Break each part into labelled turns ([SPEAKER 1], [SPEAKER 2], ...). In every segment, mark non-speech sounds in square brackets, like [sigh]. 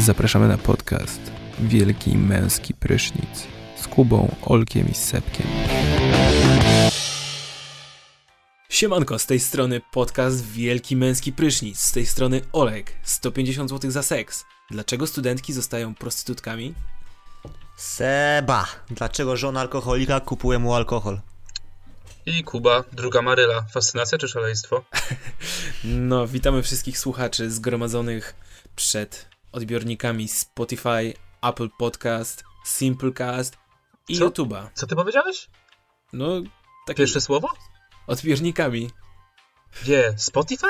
[SPEAKER 1] Zapraszamy na podcast Wielki Męski Prysznic z Kubą, Olkiem i Sepkiem.
[SPEAKER 2] Siemanko, z tej strony podcast Wielki Męski Prysznic, z tej strony Olek, 150 zł za seks. Dlaczego studentki zostają prostytutkami?
[SPEAKER 3] Seba, dlaczego żona alkoholika kupuje mu alkohol?
[SPEAKER 4] I Kuba, druga Maryla. Fascynacja czy szaleństwo?
[SPEAKER 2] No, witamy wszystkich słuchaczy zgromadzonych przed odbiornikami Spotify, Apple Podcast, Simplecast i
[SPEAKER 4] Co?
[SPEAKER 2] YouTube'a.
[SPEAKER 4] Co ty powiedziałeś?
[SPEAKER 2] No, takie
[SPEAKER 4] Pierwsze słowo?
[SPEAKER 2] odbiornikami.
[SPEAKER 4] Gdzie? Spotify?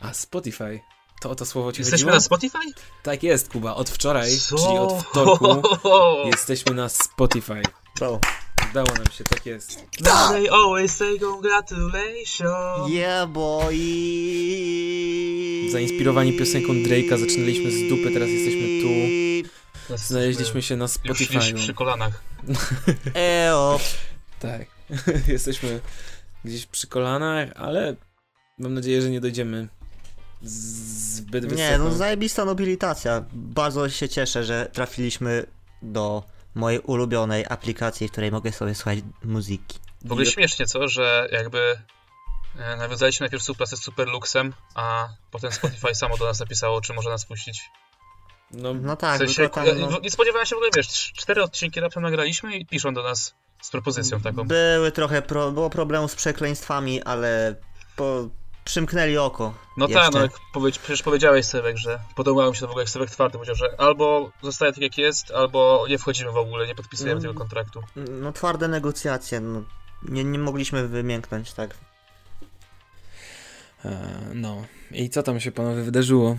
[SPEAKER 2] A Spotify. To o to słowo ci
[SPEAKER 4] Jesteśmy
[SPEAKER 2] chodziło?
[SPEAKER 4] na Spotify?
[SPEAKER 2] Tak jest, Kuba, od wczoraj,
[SPEAKER 4] Co?
[SPEAKER 2] czyli od wtorku,
[SPEAKER 4] [laughs]
[SPEAKER 2] jesteśmy na Spotify.
[SPEAKER 3] Brawo.
[SPEAKER 2] Udało nam się, tak jest.
[SPEAKER 4] They always say congratulations.
[SPEAKER 3] Yeah boy!
[SPEAKER 2] Zainspirowani piosenką Drake'a zaczynaliśmy z dupy, teraz jesteśmy tu.
[SPEAKER 4] Jesteśmy
[SPEAKER 2] Znaleźliśmy się na
[SPEAKER 4] już,
[SPEAKER 2] Spotify.
[SPEAKER 4] już przy kolanach.
[SPEAKER 3] Eo!
[SPEAKER 2] Tak. [laughs] Jesteśmy gdzieś przy kolanach, ale mam nadzieję, że nie dojdziemy zbyt wysoko.
[SPEAKER 3] Nie, no zajebista nobilitacja. Bardzo się cieszę, że trafiliśmy do mojej ulubionej aplikacji, w której mogę sobie słuchać muzyki.
[SPEAKER 4] W ogóle
[SPEAKER 2] Ile-
[SPEAKER 4] śmiesznie, co? Że jakby e, nawiązaliśmy najpierw współpracę z Superluxem, a potem Spotify samo do nas napisało, czy może nas puścić.
[SPEAKER 2] no,
[SPEAKER 3] No
[SPEAKER 4] W
[SPEAKER 3] tak,
[SPEAKER 4] sensie,
[SPEAKER 3] tylko tam,
[SPEAKER 4] ja
[SPEAKER 3] no,
[SPEAKER 4] nie spodziewałem się w ogóle, wiesz, cz- cztery odcinki raptem nagraliśmy i piszą do nas z propozycją
[SPEAKER 2] Mm,
[SPEAKER 4] taką.
[SPEAKER 3] były trochę, pro, było problemu z przekleństwami, ale po, przymknęli oko.
[SPEAKER 4] No
[SPEAKER 3] jeszcze.
[SPEAKER 4] tak, no jak powie, przecież powiedziałeś Sebek, że podobało mi się to w ogóle jak Sebek twardy powiedział, że albo zostaje tak jak jest, albo nie wchodzimy w ogóle, nie podpisujemy
[SPEAKER 3] Mm.
[SPEAKER 4] tego kontraktu.
[SPEAKER 3] No twarde negocjacje, no. Nie, nie mogliśmy wymięknąć, tak.
[SPEAKER 2] E, no. I co tam się panowie wydarzyło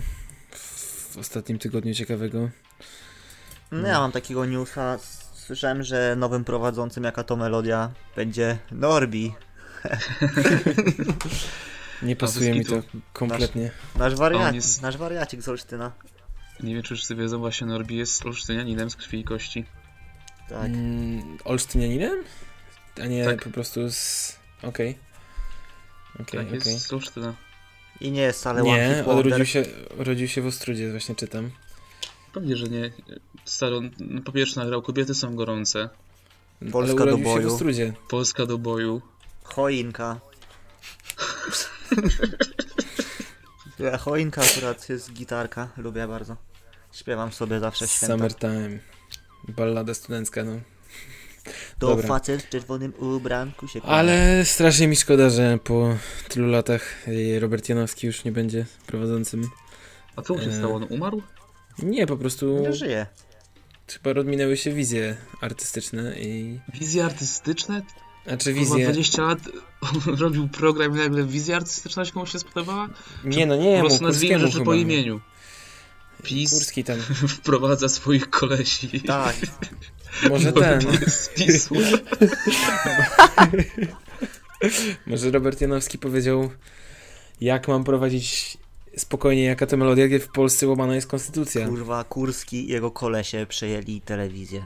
[SPEAKER 2] w ostatnim tygodniu ciekawego?
[SPEAKER 3] No
[SPEAKER 2] Mm.
[SPEAKER 3] ja mam takiego newsa, s- słyszałem, że nowym prowadzącym jaka to melodia będzie Norbi,
[SPEAKER 2] Nie pasuje
[SPEAKER 4] bez
[SPEAKER 2] mi to
[SPEAKER 4] kitu.
[SPEAKER 2] kompletnie.
[SPEAKER 3] nasz wariacik,
[SPEAKER 4] On jest-
[SPEAKER 3] nasz wariacik z Olsztyna.
[SPEAKER 4] Nie wiem, czy wszyscy wiedzą, właśnie Norbi jest olsztynianinem z krwi i kości.
[SPEAKER 3] Tak.
[SPEAKER 2] Mm, Olsztynianinem? A nie
[SPEAKER 4] Tak.
[SPEAKER 2] po prostu z... Okej. Okej,
[SPEAKER 4] tak,
[SPEAKER 2] okej.
[SPEAKER 4] jest z Olsztyna.
[SPEAKER 3] I nie jest wcale łatwy
[SPEAKER 2] Nie, on rodził
[SPEAKER 3] Wonder.
[SPEAKER 2] się, rodził się w Ostrudzie, właśnie czytam.
[SPEAKER 4] Pewnie, że nie. Staro, no, po pierwsze nagrał Kobiety są gorące,
[SPEAKER 3] Polska
[SPEAKER 2] ale
[SPEAKER 3] do
[SPEAKER 2] urodził się w
[SPEAKER 3] boju.
[SPEAKER 2] Ostrudzie.
[SPEAKER 4] Polska do boju.
[SPEAKER 3] Choinka. Ja, Choinka akurat jest gitarka, lubię bardzo. Śpiewam sobie zawsze w święta.
[SPEAKER 2] Summertime. Ballada studencka, no.
[SPEAKER 3] To
[SPEAKER 2] Dobra.
[SPEAKER 3] facet w czerwonym ubranku się kłania.
[SPEAKER 2] Ale strasznie mi szkoda, że po tylu latach y, Robert Janowski już nie będzie prowadzącym.
[SPEAKER 4] A co mu się
[SPEAKER 2] Eee.
[SPEAKER 4] stało? On umarł?
[SPEAKER 2] Nie, po prostu
[SPEAKER 3] Nie żyje.
[SPEAKER 2] chyba rozminęły się wizje artystyczne i...
[SPEAKER 4] Wizje artystyczne?
[SPEAKER 2] Znaczy
[SPEAKER 4] Wizje.
[SPEAKER 2] wizje...
[SPEAKER 4] 20 lat [laughs] robił program i nagle wizja artystyczna się komuś się spodobała?
[SPEAKER 2] Nie, no nie,
[SPEAKER 4] po
[SPEAKER 2] mu,
[SPEAKER 4] prostu nazwijmy
[SPEAKER 2] Kurskiemu
[SPEAKER 4] rzeczy
[SPEAKER 2] chyba.
[SPEAKER 4] po imieniu. PiS
[SPEAKER 2] Kurski tam.
[SPEAKER 4] wprowadza swoich kolesi.
[SPEAKER 3] Tak,
[SPEAKER 2] Może
[SPEAKER 4] No, [laughs]
[SPEAKER 2] ten.
[SPEAKER 4] nie z PiSu.
[SPEAKER 2] Może Robert Janowski powiedział, jak mam prowadzić spokojnie, jaka to melodia, gdy w Polsce łamana jest konstytucja.
[SPEAKER 3] kurwa, Kurski i jego kolesie przejęli telewizję.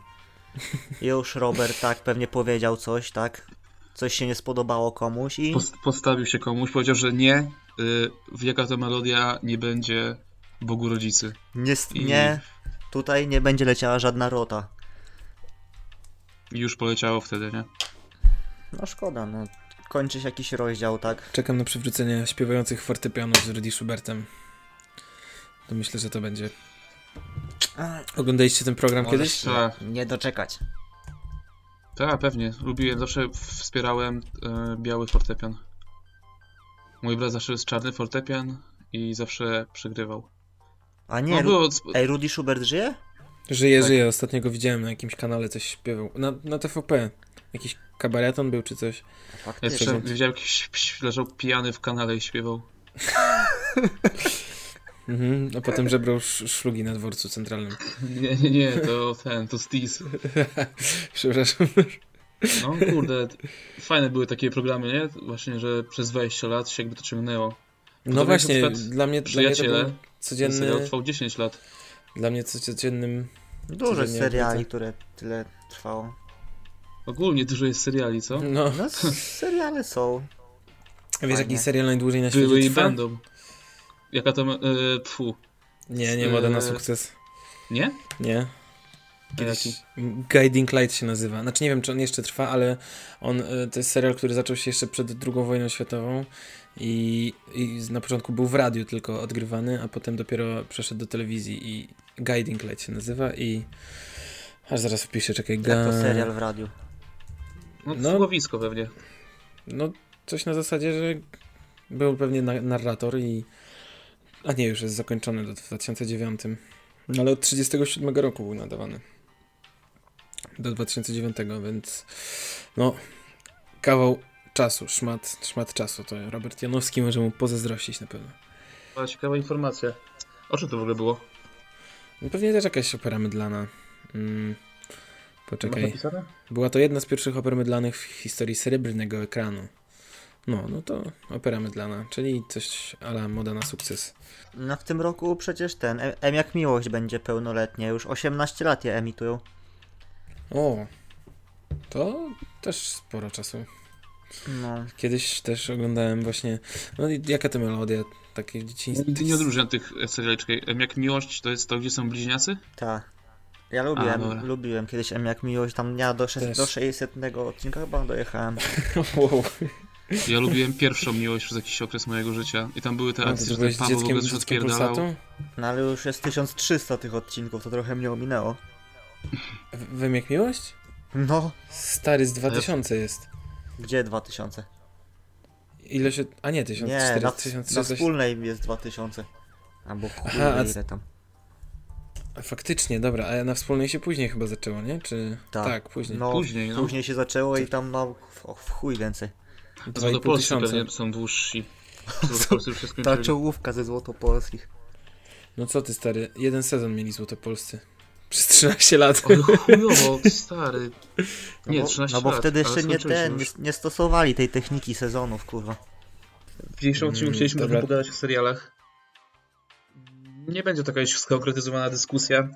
[SPEAKER 3] Już Robert tak pewnie powiedział coś, tak? Coś się nie spodobało komuś i...
[SPEAKER 4] Pos- postawił się komuś, powiedział, że nie, y, w jaka to melodia nie będzie Bogu Rodzicy.
[SPEAKER 3] Nie, s-
[SPEAKER 4] I-
[SPEAKER 3] nie, tutaj nie będzie leciała żadna rota.
[SPEAKER 4] I już poleciało wtedy, nie?
[SPEAKER 3] No szkoda, no. Kończy się jakiś rozdział, tak?
[SPEAKER 2] Czekam na przywrócenie śpiewających fortepianów z Rudy Schubertem. To myślę, że to będzie.
[SPEAKER 4] Mm,
[SPEAKER 2] Oglądaliście ten program kiedyś?
[SPEAKER 3] Możesz się
[SPEAKER 4] Tak.
[SPEAKER 3] nie doczekać.
[SPEAKER 4] Tak, pewnie. Lubiłem, zawsze wspierałem y, biały fortepian. Mój brat zawsze jest czarny fortepian i zawsze przegrywał.
[SPEAKER 3] A
[SPEAKER 4] No
[SPEAKER 3] nie, Ru-
[SPEAKER 4] było,
[SPEAKER 3] ej, Rudy Schubert żyje?
[SPEAKER 2] Żyje,
[SPEAKER 4] Tak.
[SPEAKER 2] żyje. Ostatnio go widziałem na jakimś kanale, coś śpiewał. Na, na TVP. Jakiś kabareton był czy coś.
[SPEAKER 3] Faktycznie.
[SPEAKER 4] jeszcze widziałem, jakiś pś- leżał pijany w kanale i śpiewał.
[SPEAKER 2] Mhm. A potem żebrał sz szlugi na dworcu
[SPEAKER 4] [laughs]
[SPEAKER 2] centralnym.
[SPEAKER 4] Nie, nie, nie, to ten, to Stis.
[SPEAKER 2] Przepraszam.
[SPEAKER 4] No kurde, fajne były takie programy, nie? Właśnie, że przez 20 lat się jakby to ciągnęło.
[SPEAKER 2] No
[SPEAKER 4] jak
[SPEAKER 2] właśnie,
[SPEAKER 4] na przykład
[SPEAKER 2] dla mnie, dla mnie to
[SPEAKER 4] Przyjaciele,
[SPEAKER 2] był
[SPEAKER 4] ten serial
[SPEAKER 2] codzienny.
[SPEAKER 4] trwał 10 lat.
[SPEAKER 2] Dla mnie co- codziennym.
[SPEAKER 3] Dużo
[SPEAKER 2] Codziennie
[SPEAKER 3] seriali,
[SPEAKER 2] wrócę.
[SPEAKER 3] które tyle trwało.
[SPEAKER 4] Ogólnie dużo jest seriali, co?
[SPEAKER 2] No,
[SPEAKER 4] [laughs]
[SPEAKER 3] No, s- seriale są.
[SPEAKER 2] wiesz, jaki
[SPEAKER 3] Fajnie.
[SPEAKER 2] serial najdłużej na świecie
[SPEAKER 4] Były i
[SPEAKER 2] trwa?
[SPEAKER 4] będą. Jaka to... ma- Yy, pfu.
[SPEAKER 2] Nie, nie ma na
[SPEAKER 4] Eee.
[SPEAKER 2] sukces.
[SPEAKER 4] Nie?
[SPEAKER 2] Nie.
[SPEAKER 4] A jaki?
[SPEAKER 2] Guiding Light się nazywa. Znaczy nie wiem, czy on jeszcze trwa, ale on, y, to jest serial, który zaczął się jeszcze przed II wojną światową i, i z- na początku był w radiu tylko odgrywany, a potem dopiero przeszedł do telewizji i Guiding Light się nazywa i aż zaraz wpiszę, czekaj, ga...
[SPEAKER 3] Jak to serial w radiu.
[SPEAKER 4] No,
[SPEAKER 2] No.
[SPEAKER 4] słowisko pewnie.
[SPEAKER 2] No coś na zasadzie, że był pewnie na- narrator i a nie, już jest zakończony do- w 2009. No, ale od 37 roku był nadawany. Do 2009, więc no kawał czasu, szmat, szmat czasu. To Robert Janowski może mu pozazdrościć na pewno.
[SPEAKER 4] A, ciekawa informacja. O czym to w ogóle było?
[SPEAKER 2] No, pewnie też jakaś opera mydlana. Mm,
[SPEAKER 4] Masz
[SPEAKER 2] poczekaj.
[SPEAKER 4] napisane?
[SPEAKER 2] Była to jedna z pierwszych oper mydlanych w historii srebrnego ekranu. No, no to opera mydlana, czyli coś ala moda na sukces.
[SPEAKER 3] No w tym roku przecież ten, M, M jak miłość będzie pełnoletnie, już 18 lat je emitują.
[SPEAKER 2] O, to też sporo czasu.
[SPEAKER 3] No,
[SPEAKER 2] Kiedyś też oglądałem właśnie, no i jaka to melodia, takie dzieciństwo.
[SPEAKER 4] Nigdy nie odróżniam tych seriali. Czekaj, em, jak miłość to jest to, gdzie są bliźniacy?
[SPEAKER 3] ta. Ja lubiłem,
[SPEAKER 4] dobra.
[SPEAKER 3] lubiłem kiedyś M jak miłość, tam ja do,
[SPEAKER 2] Też.
[SPEAKER 3] szes- do 600 odcinka chyba dojechałem.
[SPEAKER 2] [laughs] Wow.
[SPEAKER 4] Ja lubiłem pierwszą miłość przez jakiś okres mojego życia. I tam były te
[SPEAKER 2] A,
[SPEAKER 4] akcje,
[SPEAKER 2] ty
[SPEAKER 4] że ten
[SPEAKER 2] byłeś
[SPEAKER 4] Paweł w ogóle
[SPEAKER 2] dzieckiem,
[SPEAKER 4] coś
[SPEAKER 2] dzieckiem
[SPEAKER 4] odpierdalał.
[SPEAKER 2] pulsatu?
[SPEAKER 3] No ale już jest 1300 tych odcinków, to trochę mnie ominęło.
[SPEAKER 2] W- Wiem jak miłość?
[SPEAKER 3] No,
[SPEAKER 2] Stary z 2000 jest.
[SPEAKER 3] gdzie 2000?
[SPEAKER 2] Ile się, a nie,
[SPEAKER 3] Nie,
[SPEAKER 2] 1400,
[SPEAKER 3] na, na
[SPEAKER 2] 1300.
[SPEAKER 3] wspólnej jest 2000. Albo
[SPEAKER 2] Aha, a
[SPEAKER 3] kurde,
[SPEAKER 2] c-
[SPEAKER 3] ile tam.
[SPEAKER 2] A Faktycznie, dobra, a na wspólnej się później chyba zaczęło, nie? Czy...
[SPEAKER 3] Tak.
[SPEAKER 2] później.
[SPEAKER 3] No,
[SPEAKER 4] Później, no.
[SPEAKER 3] później się zaczęło i tam no, w, o, w chuj więcej.
[SPEAKER 2] Dwa i pół
[SPEAKER 4] Złotopolscy
[SPEAKER 2] tysiąca.
[SPEAKER 4] pewnie są [laughs] dłużsi. Złotopolscy już się
[SPEAKER 3] Ta
[SPEAKER 4] skończyli.
[SPEAKER 3] czołówka ze złotopolskich.
[SPEAKER 2] No co ty stary, jeden sezon mieli złotopolscy. Przez 13 lat.
[SPEAKER 4] Ale No chujowo, stary.
[SPEAKER 3] No
[SPEAKER 4] Nie,
[SPEAKER 3] bo-
[SPEAKER 4] 13
[SPEAKER 3] No bo
[SPEAKER 4] lat,
[SPEAKER 3] wtedy
[SPEAKER 4] ale
[SPEAKER 3] jeszcze nie,
[SPEAKER 4] skończyliśmy
[SPEAKER 3] ten, nie,
[SPEAKER 4] już.
[SPEAKER 3] nie stosowali tej techniki sezonów, kurwa.
[SPEAKER 4] W dzisiejszym odcinku
[SPEAKER 2] Mm,
[SPEAKER 4] chcieliśmy
[SPEAKER 2] dobra.
[SPEAKER 4] trochę pogadać o serialach. Nie będzie to jakaś skonkretyzowana dyskusja.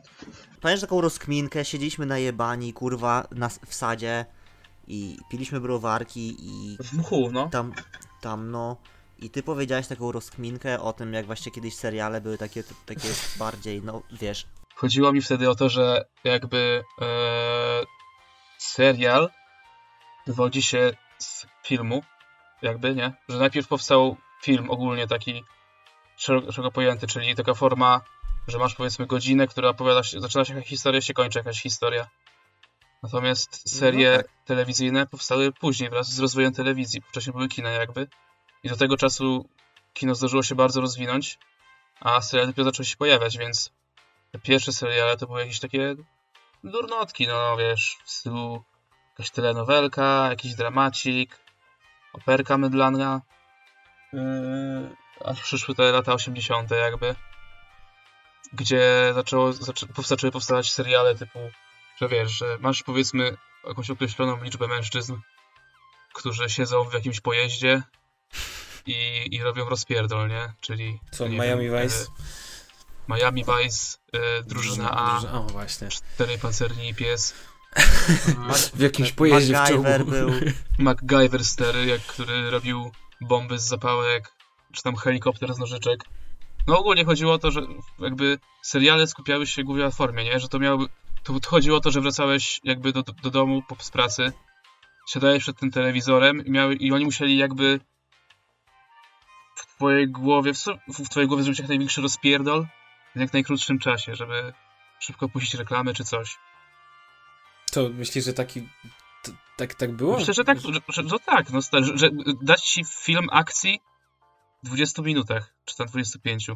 [SPEAKER 3] Pamiętasz taką rozkminkę, siedzieliśmy na jebani, kurwa, na, s- w sadzie i piliśmy browarki i
[SPEAKER 4] W mchu, no.
[SPEAKER 3] tam, tam no. I ty powiedziałeś taką rozkminkę o tym, jak właśnie kiedyś seriale były takie, takie bardziej, no wiesz,
[SPEAKER 4] Chodziło mi wtedy o to, że jakby e, serial wywodzi się z filmu, jakby, nie? Że najpierw powstał film ogólnie taki szeroko, szeroko pojęty, czyli taka forma, że masz powiedzmy godzinę, która opowiada się, zaczyna się jakaś historia, się kończy jakaś historia. Natomiast serie
[SPEAKER 3] No tak.
[SPEAKER 4] telewizyjne powstały później wraz z rozwojem telewizji. Wcześniej były kina jakby. I do tego czasu kino zdążyło się bardzo rozwinąć, a seriale dopiero zaczęły się pojawiać, więc te pierwsze seriale to były jakieś takie durnotki, no wiesz, w stylu jakaś telenowelka, jakiś dramacik, operka mydlana. Yy, aż przyszły te lata 80. jakby, gdzie zaczęło, zaczę, powsta- zaczęły powstawać seriale typu, że wiesz, że masz powiedzmy jakąś określoną liczbę mężczyzn, którzy siedzą w jakimś pojeździe i, i robią rozpierdol, nie? Czyli...
[SPEAKER 2] [laughs] Co,
[SPEAKER 4] nie
[SPEAKER 2] Miami
[SPEAKER 4] wiem,
[SPEAKER 2] Vice?
[SPEAKER 4] y, Miami Vice, y, drużyna A,
[SPEAKER 2] Drużyna- O, właśnie.
[SPEAKER 4] cztery pancerni i pies.
[SPEAKER 2] W jakimś pojeździe w czołgu.
[SPEAKER 3] MacGyver był.
[SPEAKER 4] MacGyver stery, jak, który robił bomby z zapałek, czy tam helikopter z nożyczek. No ogólnie chodziło o to, że jakby seriale skupiały się głównie na formie, nie? Że to miało... To to chodziło o to, że wracałeś jakby do, do domu po, z pracy, siadałeś przed tym telewizorem i, miały, i oni musieli jakby w twojej głowie, w, su- w twojej głowie zrobić jak największy rozpierdol w jak najkrótszym czasie, żeby szybko puścić reklamy czy coś.
[SPEAKER 2] To myślisz, że taki... t- Tak, tak było?
[SPEAKER 4] Myślę, że tak, że, że, że tak, no stary, że, że dać ci film akcji w 20 minutach, czy tam 25.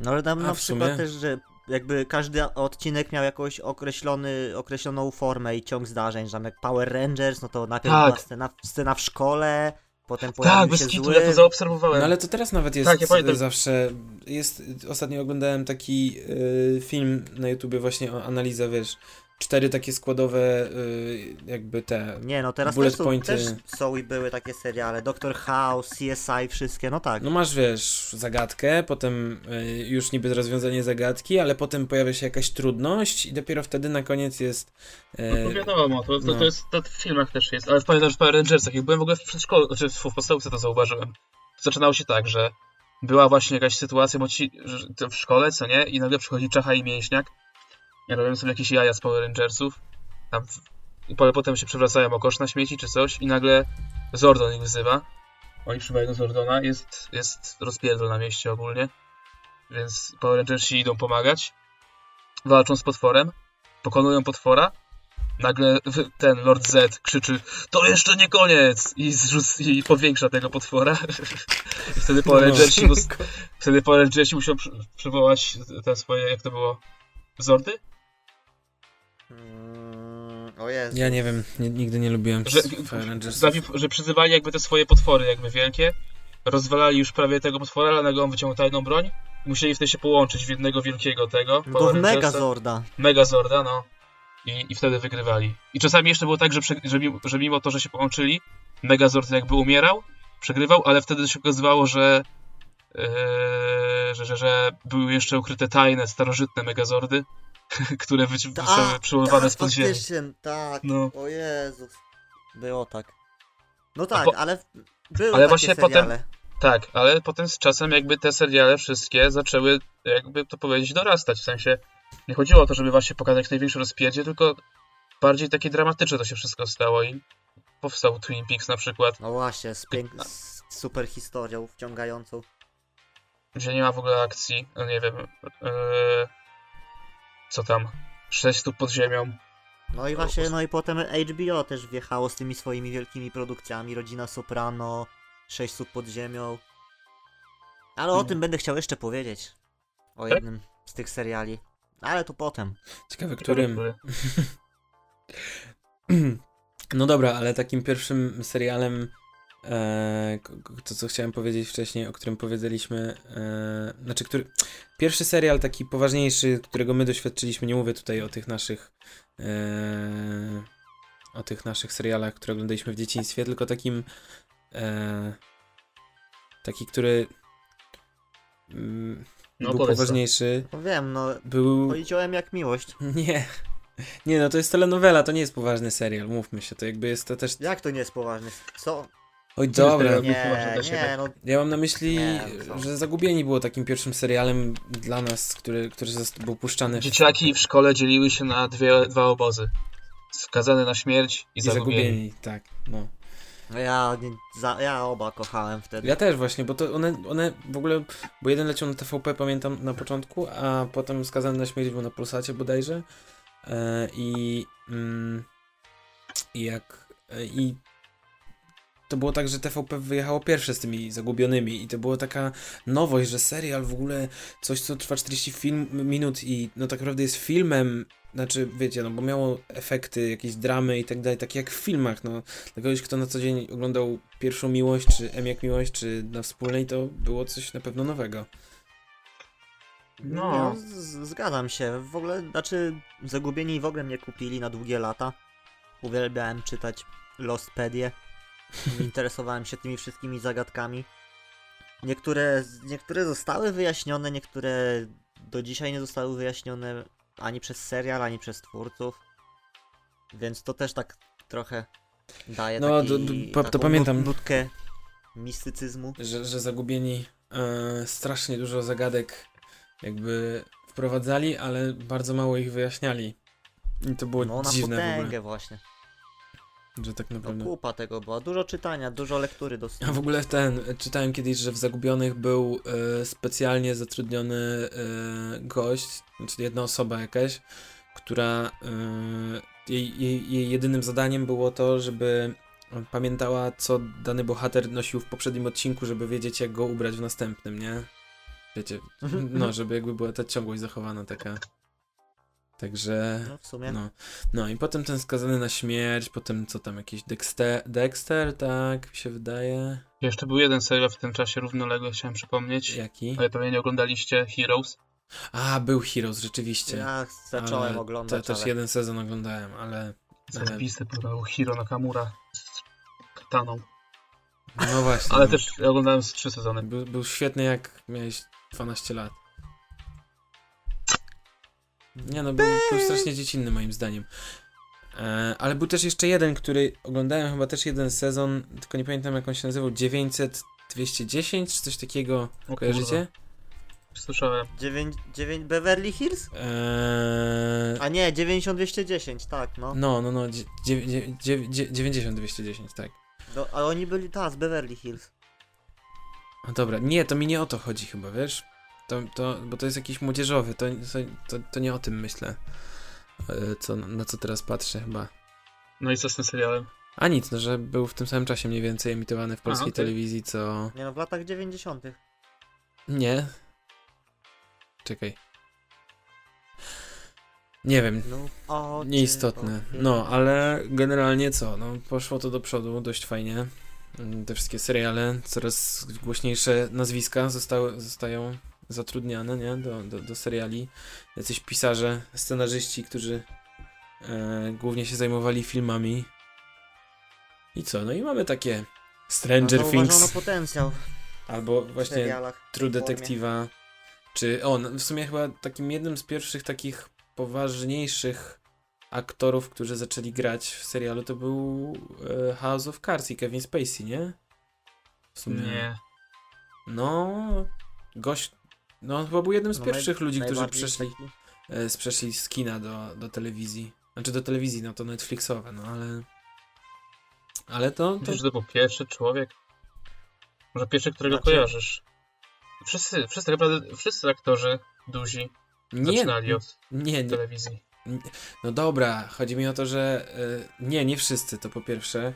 [SPEAKER 3] No ale tam
[SPEAKER 2] A,
[SPEAKER 3] na
[SPEAKER 2] w
[SPEAKER 3] przykład
[SPEAKER 2] sumie-
[SPEAKER 3] też, że jakby każdy odcinek miał jakąś określony, określoną formę i ciąg zdarzeń, że tam jak Power Rangers, no to najpierw
[SPEAKER 4] Tak.
[SPEAKER 3] była scena, scena w szkole, potem
[SPEAKER 4] Tak,
[SPEAKER 3] pojawił
[SPEAKER 4] bez
[SPEAKER 3] się
[SPEAKER 4] kitu,
[SPEAKER 3] zły.
[SPEAKER 4] ja to zaobserwowałem.
[SPEAKER 2] No ale to teraz nawet jest
[SPEAKER 4] Tak, ja pamiętam.
[SPEAKER 2] zawsze. Jest, ostatnio oglądałem taki y, film na YouTubie właśnie o analiza, wiesz, cztery takie składowe y, jakby te.
[SPEAKER 3] Nie, no teraz
[SPEAKER 2] Bullet
[SPEAKER 3] też, są,
[SPEAKER 2] pointy.
[SPEAKER 3] też są i były takie seriale, Doctor House, CSI, wszystkie, no tak.
[SPEAKER 2] No masz, wiesz, zagadkę, potem y, już niby rozwiązanie zagadki, ale potem pojawia się jakaś trudność i dopiero wtedy na koniec jest.
[SPEAKER 4] No to
[SPEAKER 2] y,
[SPEAKER 4] wiadomo, to, to,
[SPEAKER 2] no.
[SPEAKER 4] to jest, to w filmach też jest, ale pamiętam, że w Power Rangersach, jak byłem w ogóle w przedszkolu, znaczy w w podstawówce to zauważyłem, to zaczynało się tak, że była właśnie jakaś sytuacja, bo ci że- to w szkole, co nie? I nagle przychodzi Czacha i Mięśniak. Ja robią sobie jakieś jaja z Power Rangersów. Tam w... I po- potem się przewracają o kosz na śmieci czy coś i nagle Zordon ich wzywa. Oni przybywają do Zordona. Jest, jest rozpierdol na mieście ogólnie. Więc Power Rangersi idą pomagać. Walczą z potworem. Pokonują potwora. Nagle w- ten Lord Z krzyczy To jeszcze nie koniec! I, zrzuc- i powiększa tego potwora. [laughs] I wtedy Power
[SPEAKER 2] No.
[SPEAKER 4] Rangersi mu s- Wtedy Power Rangersi musiał przy- przywołać te swoje, jak to było, zordy?
[SPEAKER 3] Mm, o jest.
[SPEAKER 2] Ja nie wiem, nie, nigdy nie lubiłem
[SPEAKER 4] Że,
[SPEAKER 2] Fire Rangers.
[SPEAKER 4] że, że przyzywali jakby te swoje potwory jakby wielkie, rozwalali już prawie tego potwora, ale nagle on wyciągnął tajną broń i musieli wtedy się połączyć w jednego wielkiego tego.
[SPEAKER 3] Do
[SPEAKER 4] Power Rangersa.
[SPEAKER 3] Megazorda.
[SPEAKER 4] Megazorda, no. I, I wtedy wygrywali. I czasami jeszcze było tak, że, prze, że, mimo, że mimo to, że się połączyli, Megazord jakby umierał, przegrywał, ale wtedy się okazywało, że, yy, że, że, że były jeszcze ukryte tajne, starożytne Megazordy, [laughs] które wyci-
[SPEAKER 3] Ta-
[SPEAKER 4] zostały przyłowane
[SPEAKER 3] tak,
[SPEAKER 4] z podziemi.
[SPEAKER 3] faktycznie, tak.
[SPEAKER 4] No.
[SPEAKER 3] O Jezus. Było tak. No tak,
[SPEAKER 4] po-
[SPEAKER 3] ale były
[SPEAKER 4] ale
[SPEAKER 3] takie
[SPEAKER 4] właśnie potem-
[SPEAKER 3] seriale.
[SPEAKER 4] Tak, ale potem z czasem jakby te seriale wszystkie zaczęły, jakby to powiedzieć, dorastać. W sensie nie chodziło o to, żeby właśnie pokazać największy rozpierdzie, tylko bardziej takie dramatyczne to się wszystko stało i powstał Twin Peaks na przykład.
[SPEAKER 3] No właśnie, z, pięk- z super historią wciągającą.
[SPEAKER 4] gdzie nie ma w ogóle akcji, no nie wiem, yy, co tam, 6 stóp pod ziemią.
[SPEAKER 3] No i właśnie, no i potem HBO też wjechało z tymi swoimi wielkimi produkcjami. Rodzina Soprano, Sześć Sub Pod Ziemią. Ale o tym będę chciał jeszcze powiedzieć. O jednym z tych seriali. Ale to potem.
[SPEAKER 2] Ciekawe, którym. [clears throat] No dobra, ale takim pierwszym serialem, e, k- k- to co chciałem powiedzieć wcześniej, o którym powiedzieliśmy, e, znaczy, który, pierwszy serial taki poważniejszy, którego my doświadczyliśmy, nie mówię tutaj o tych naszych, e, o tych naszych serialach, które oglądaliśmy w dzieciństwie, tylko takim, e, taki, który mm,
[SPEAKER 4] No
[SPEAKER 2] był
[SPEAKER 4] powiedz to.
[SPEAKER 2] poważniejszy,
[SPEAKER 3] No wiem, no
[SPEAKER 2] był...
[SPEAKER 3] powiedziałem jak miłość.
[SPEAKER 2] [laughs] Nie. Nie, no to jest telenowela, to nie jest poważny serial, mówmy się, to jakby jest to też...
[SPEAKER 3] Jak to nie jest poważne? Co?
[SPEAKER 2] Oj, dobra.
[SPEAKER 4] To jest poważne
[SPEAKER 3] Nie,
[SPEAKER 4] dla siebie.
[SPEAKER 3] nie, no
[SPEAKER 2] Ja mam na myśli,
[SPEAKER 3] Nie, co?
[SPEAKER 2] że Zagubieni było takim pierwszym serialem dla nas, który, który zas- był puszczany w
[SPEAKER 4] Dzieciaki w szkole dzieliły się na dwie, dwa obozy. Skazane na śmierć i,
[SPEAKER 2] i
[SPEAKER 4] zagubieni.
[SPEAKER 2] Zagubieni, tak, no.
[SPEAKER 3] no ja, nie, za, ja oba kochałem wtedy.
[SPEAKER 2] Ja też właśnie, bo to one, one w ogóle, bo jeden leciał na TVP, pamiętam, na początku, a potem Skazany na śmierć był na Pulsacie bodajże e, i mm, i jak e, i to było tak, że TVP wyjechało pierwsze z tymi zagubionymi i to była taka nowość, że serial w ogóle coś, co trwa 40 film, minut i no tak naprawdę jest filmem, znaczy wiecie, no bo miało efekty, jakieś dramy i tak dalej, tak jak w filmach, no dla kogoś, kto na co dzień oglądał pierwszą miłość, czy M jak miłość, czy na wspólnej, to było coś na pewno nowego.
[SPEAKER 4] No.
[SPEAKER 3] No, z- zgadzam się. W ogóle, znaczy, zagubieni w ogóle mnie kupili na długie lata. Uwielbiałem czytać Lostpedię. [laughs] Interesowałem się tymi wszystkimi zagadkami. Niektóre, niektóre zostały wyjaśnione, niektóre do dzisiaj nie zostały wyjaśnione ani przez serial, ani przez twórców. Więc to też tak trochę daje
[SPEAKER 2] No,
[SPEAKER 3] taki,
[SPEAKER 2] d- d- pa- to
[SPEAKER 3] taką
[SPEAKER 2] pamiętam.
[SPEAKER 3] nut- nutkę mistycyzmu.
[SPEAKER 2] Że, że zagubieni e, strasznie dużo zagadek jakby wprowadzali, ale bardzo mało ich wyjaśniali. I to było
[SPEAKER 3] No, na
[SPEAKER 2] dziwne w ogóle,
[SPEAKER 3] potęgę właśnie.
[SPEAKER 2] że tak naprawdę...
[SPEAKER 3] No kupa tego była. Dużo czytania, dużo lektury do
[SPEAKER 2] A w ogóle ten, czytałem kiedyś, że w Zagubionych był e, specjalnie zatrudniony e, gość, czyli jedna osoba jakaś, która e, jej, jej, jej jedynym zadaniem było to, żeby pamiętała, co dany bohater nosił w poprzednim odcinku, żeby wiedzieć, jak go ubrać w następnym, nie? Wiecie, no, żeby jakby była ta ciągłość zachowana taka. Także...
[SPEAKER 3] No w sumie.
[SPEAKER 2] No. no i potem ten skazany na śmierć, potem co tam, jakiś Dexter, Dexter tak mi się wydaje.
[SPEAKER 4] Jeszcze był jeden serial w tym czasie równolegle, chciałem przypomnieć.
[SPEAKER 2] Jaki?
[SPEAKER 4] Ale pewnie nie oglądaliście Heroes.
[SPEAKER 2] A, był Heroes, rzeczywiście.
[SPEAKER 3] Ja zacząłem
[SPEAKER 2] Ale Te,
[SPEAKER 3] oglądać,
[SPEAKER 2] też
[SPEAKER 3] ale...
[SPEAKER 2] jeden sezon oglądałem, ale Ale-
[SPEAKER 4] Zajebiste programu Hiro Nakamura z kataną.
[SPEAKER 2] no właśnie.
[SPEAKER 4] Ale też ja oglądałem z trzy sezony.
[SPEAKER 2] Był, był świetny jak miałeś 12 lat. Nie no, był, był strasznie dziecinny moim zdaniem. E, ale był też jeszcze jeden, który oglądałem chyba też jeden sezon, tylko nie pamiętam jak on się nazywał, 900 210 czy coś takiego.
[SPEAKER 4] O
[SPEAKER 2] Kojarzycie?
[SPEAKER 4] Słyszałem.
[SPEAKER 3] 9, 9 Beverly Hills?
[SPEAKER 2] Eee,
[SPEAKER 3] A nie, 90210, tak, no.
[SPEAKER 2] no, no, no, dzie- dziew- dziew- dziew- dziew- 90 210, tak.
[SPEAKER 3] Do, a oni byli, ta, z Beverly Hills.
[SPEAKER 2] No dobra, nie, to mi nie o to chodzi chyba, wiesz? To, to, bo to jest jakiś młodzieżowy, to, to, to nie o tym myślę. E, Co, na co teraz patrzę chyba.
[SPEAKER 4] No i co z tym serialem?
[SPEAKER 2] A nic, no, że był w tym samym czasie mniej więcej emitowany w polskiej
[SPEAKER 4] okej.
[SPEAKER 2] telewizji, co...
[SPEAKER 3] Nie no, w latach 90.
[SPEAKER 2] Nie. Czekaj. Nie wiem,
[SPEAKER 3] No, o,
[SPEAKER 2] Nieistotne.
[SPEAKER 3] czy- o,
[SPEAKER 2] No, ale generalnie co? No, poszło to do przodu dość fajnie. Mm, Te wszystkie seriale, coraz głośniejsze nazwiska zostały, zostają zatrudniane nie? Do, do, do seriali. Jacyś pisarze, scenarzyści, którzy e, głównie się zajmowali filmami. I co? No i mamy takie Stranger
[SPEAKER 3] Zauważono
[SPEAKER 2] Things
[SPEAKER 3] potencjał
[SPEAKER 2] albo
[SPEAKER 3] w
[SPEAKER 2] właśnie
[SPEAKER 3] serialach.
[SPEAKER 2] True
[SPEAKER 3] formie.
[SPEAKER 2] Detectiva. Czy on w sumie chyba takim jednym z pierwszych takich poważniejszych aktorów, którzy zaczęli grać w serialu, to był e, House of Cards i Kevin Spacey, nie? W sumie.
[SPEAKER 4] Nie.
[SPEAKER 2] No, gość. No, on chyba był jednym z
[SPEAKER 3] No,
[SPEAKER 2] pierwszych ludzi, którzy
[SPEAKER 3] Najbardziej
[SPEAKER 2] przeszli,
[SPEAKER 3] taki-
[SPEAKER 4] tak-
[SPEAKER 2] e, z- przeszli z kina do, do telewizji. Znaczy do telewizji, no to Netflixowe, no ale. Ale to. to
[SPEAKER 4] Myślisz, że to był pierwszy człowiek? Może pierwszy, którego
[SPEAKER 3] Znaczy-
[SPEAKER 4] kojarzysz? Wszyscy, wszyscy naprawdę, wszyscy aktorzy duzi
[SPEAKER 2] nie,
[SPEAKER 4] zaczynali od
[SPEAKER 2] nie, nie,
[SPEAKER 4] telewizji.
[SPEAKER 2] No dobra, chodzi mi o to, że y, nie, nie wszyscy to po pierwsze.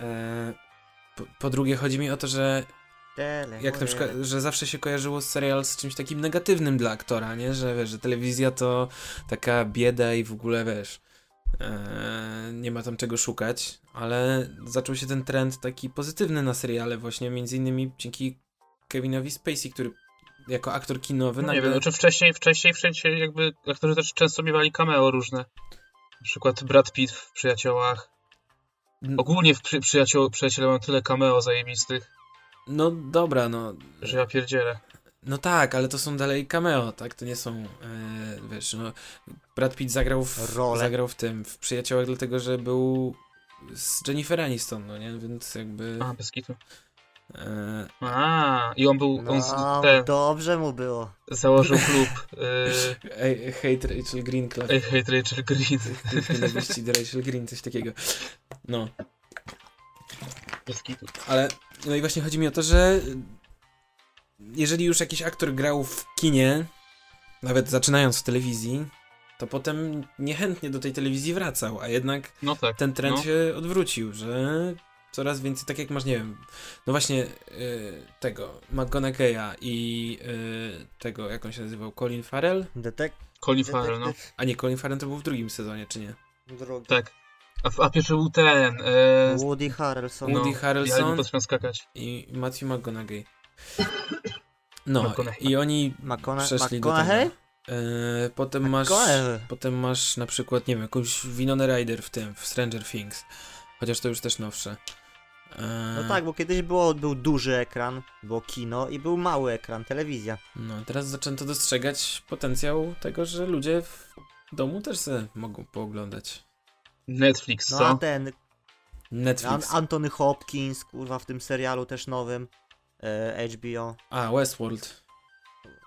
[SPEAKER 2] E, po, po drugie, chodzi mi o to, że
[SPEAKER 3] Tele,
[SPEAKER 2] jak na
[SPEAKER 3] moje- No,
[SPEAKER 2] przykład, że zawsze się kojarzyło serial z czymś takim negatywnym dla aktora, nie? Że wiesz, że telewizja to taka bieda i w ogóle wiesz. e, nie ma tam czego szukać, ale zaczął się ten trend taki pozytywny na seriale, właśnie między innymi dzięki Kevinowi Spacey, który jako aktor kinowy
[SPEAKER 4] No Nie wiem, czy wcześniej, wcześniej, wcześniej jakby aktorzy też często miewali cameo różne. Na przykład Brad Pitt w Przyjaciołach.
[SPEAKER 3] Mm.
[SPEAKER 4] Ogólnie w przy, przyjaciół, Przyjaciele mam tyle cameo zajebistych,
[SPEAKER 2] No dobra, no.
[SPEAKER 4] że ja pierdzielę.
[SPEAKER 2] No tak, ale to są dalej cameo, tak? To nie są, e, wiesz, no, Brad Pitt zagrał w,
[SPEAKER 3] Role.
[SPEAKER 2] zagrał w tym, w Przyjaciołach, dlatego że był z Jennifer Aniston, no nie? Więc jakby...
[SPEAKER 4] A, bez kitu.
[SPEAKER 2] E,
[SPEAKER 4] A, i on był, on z,
[SPEAKER 3] No,
[SPEAKER 4] ten,
[SPEAKER 3] dobrze mu było.
[SPEAKER 4] założył klub y,
[SPEAKER 2] ej, hate Rachel Green, klub
[SPEAKER 4] Ej, hate Rachel Green.
[SPEAKER 2] klub nienawiści do Rachel Green, coś takiego. No,
[SPEAKER 4] Bez kitu.
[SPEAKER 2] ale, no i właśnie chodzi mi o to, że jeżeli już jakiś aktor grał w kinie, nawet zaczynając w telewizji, to potem niechętnie do tej telewizji wracał, a jednak
[SPEAKER 4] No tak.
[SPEAKER 2] ten trend
[SPEAKER 4] no.
[SPEAKER 2] się odwrócił, że coraz więcej, tak jak masz, nie wiem, no właśnie y, tego, McGonageya i y, tego, jak on się nazywał, Colin Farrell?
[SPEAKER 3] Detek
[SPEAKER 4] Colin Farrell, no.
[SPEAKER 3] detektyw
[SPEAKER 2] A nie, Colin Farrell to był w drugim sezonie, czy nie?
[SPEAKER 3] drugi.
[SPEAKER 4] Tak. A, w- a pierwszy był ten. E,
[SPEAKER 3] Woody Harrelson.
[SPEAKER 4] no.
[SPEAKER 2] Woody
[SPEAKER 4] Ja nie
[SPEAKER 2] Harrelson
[SPEAKER 4] potrafię skakać.
[SPEAKER 2] i Matthew McGonaghy. No,
[SPEAKER 4] McConaughey.
[SPEAKER 2] i oni
[SPEAKER 3] McCona-
[SPEAKER 2] przeszli do tego.
[SPEAKER 3] McConaughey?
[SPEAKER 2] Y, potem masz...
[SPEAKER 3] McConaughey.
[SPEAKER 2] Potem masz na przykład, nie wiem, jakąś Winona Ryder w tym, w Stranger Things. Chociaż to już też nowsze. Y,
[SPEAKER 3] No tak, bo kiedyś było, był duży ekran, było kino i był mały ekran, telewizja.
[SPEAKER 2] No, teraz zaczęto dostrzegać potencjał tego, że ludzie w domu też se mogą pooglądać.
[SPEAKER 4] Netflix,
[SPEAKER 3] No a
[SPEAKER 4] co?
[SPEAKER 3] ten An-
[SPEAKER 2] Netflix.
[SPEAKER 3] Anthony Hopkins, kurwa, w tym serialu też nowym e, HBO.
[SPEAKER 2] A, Westworld.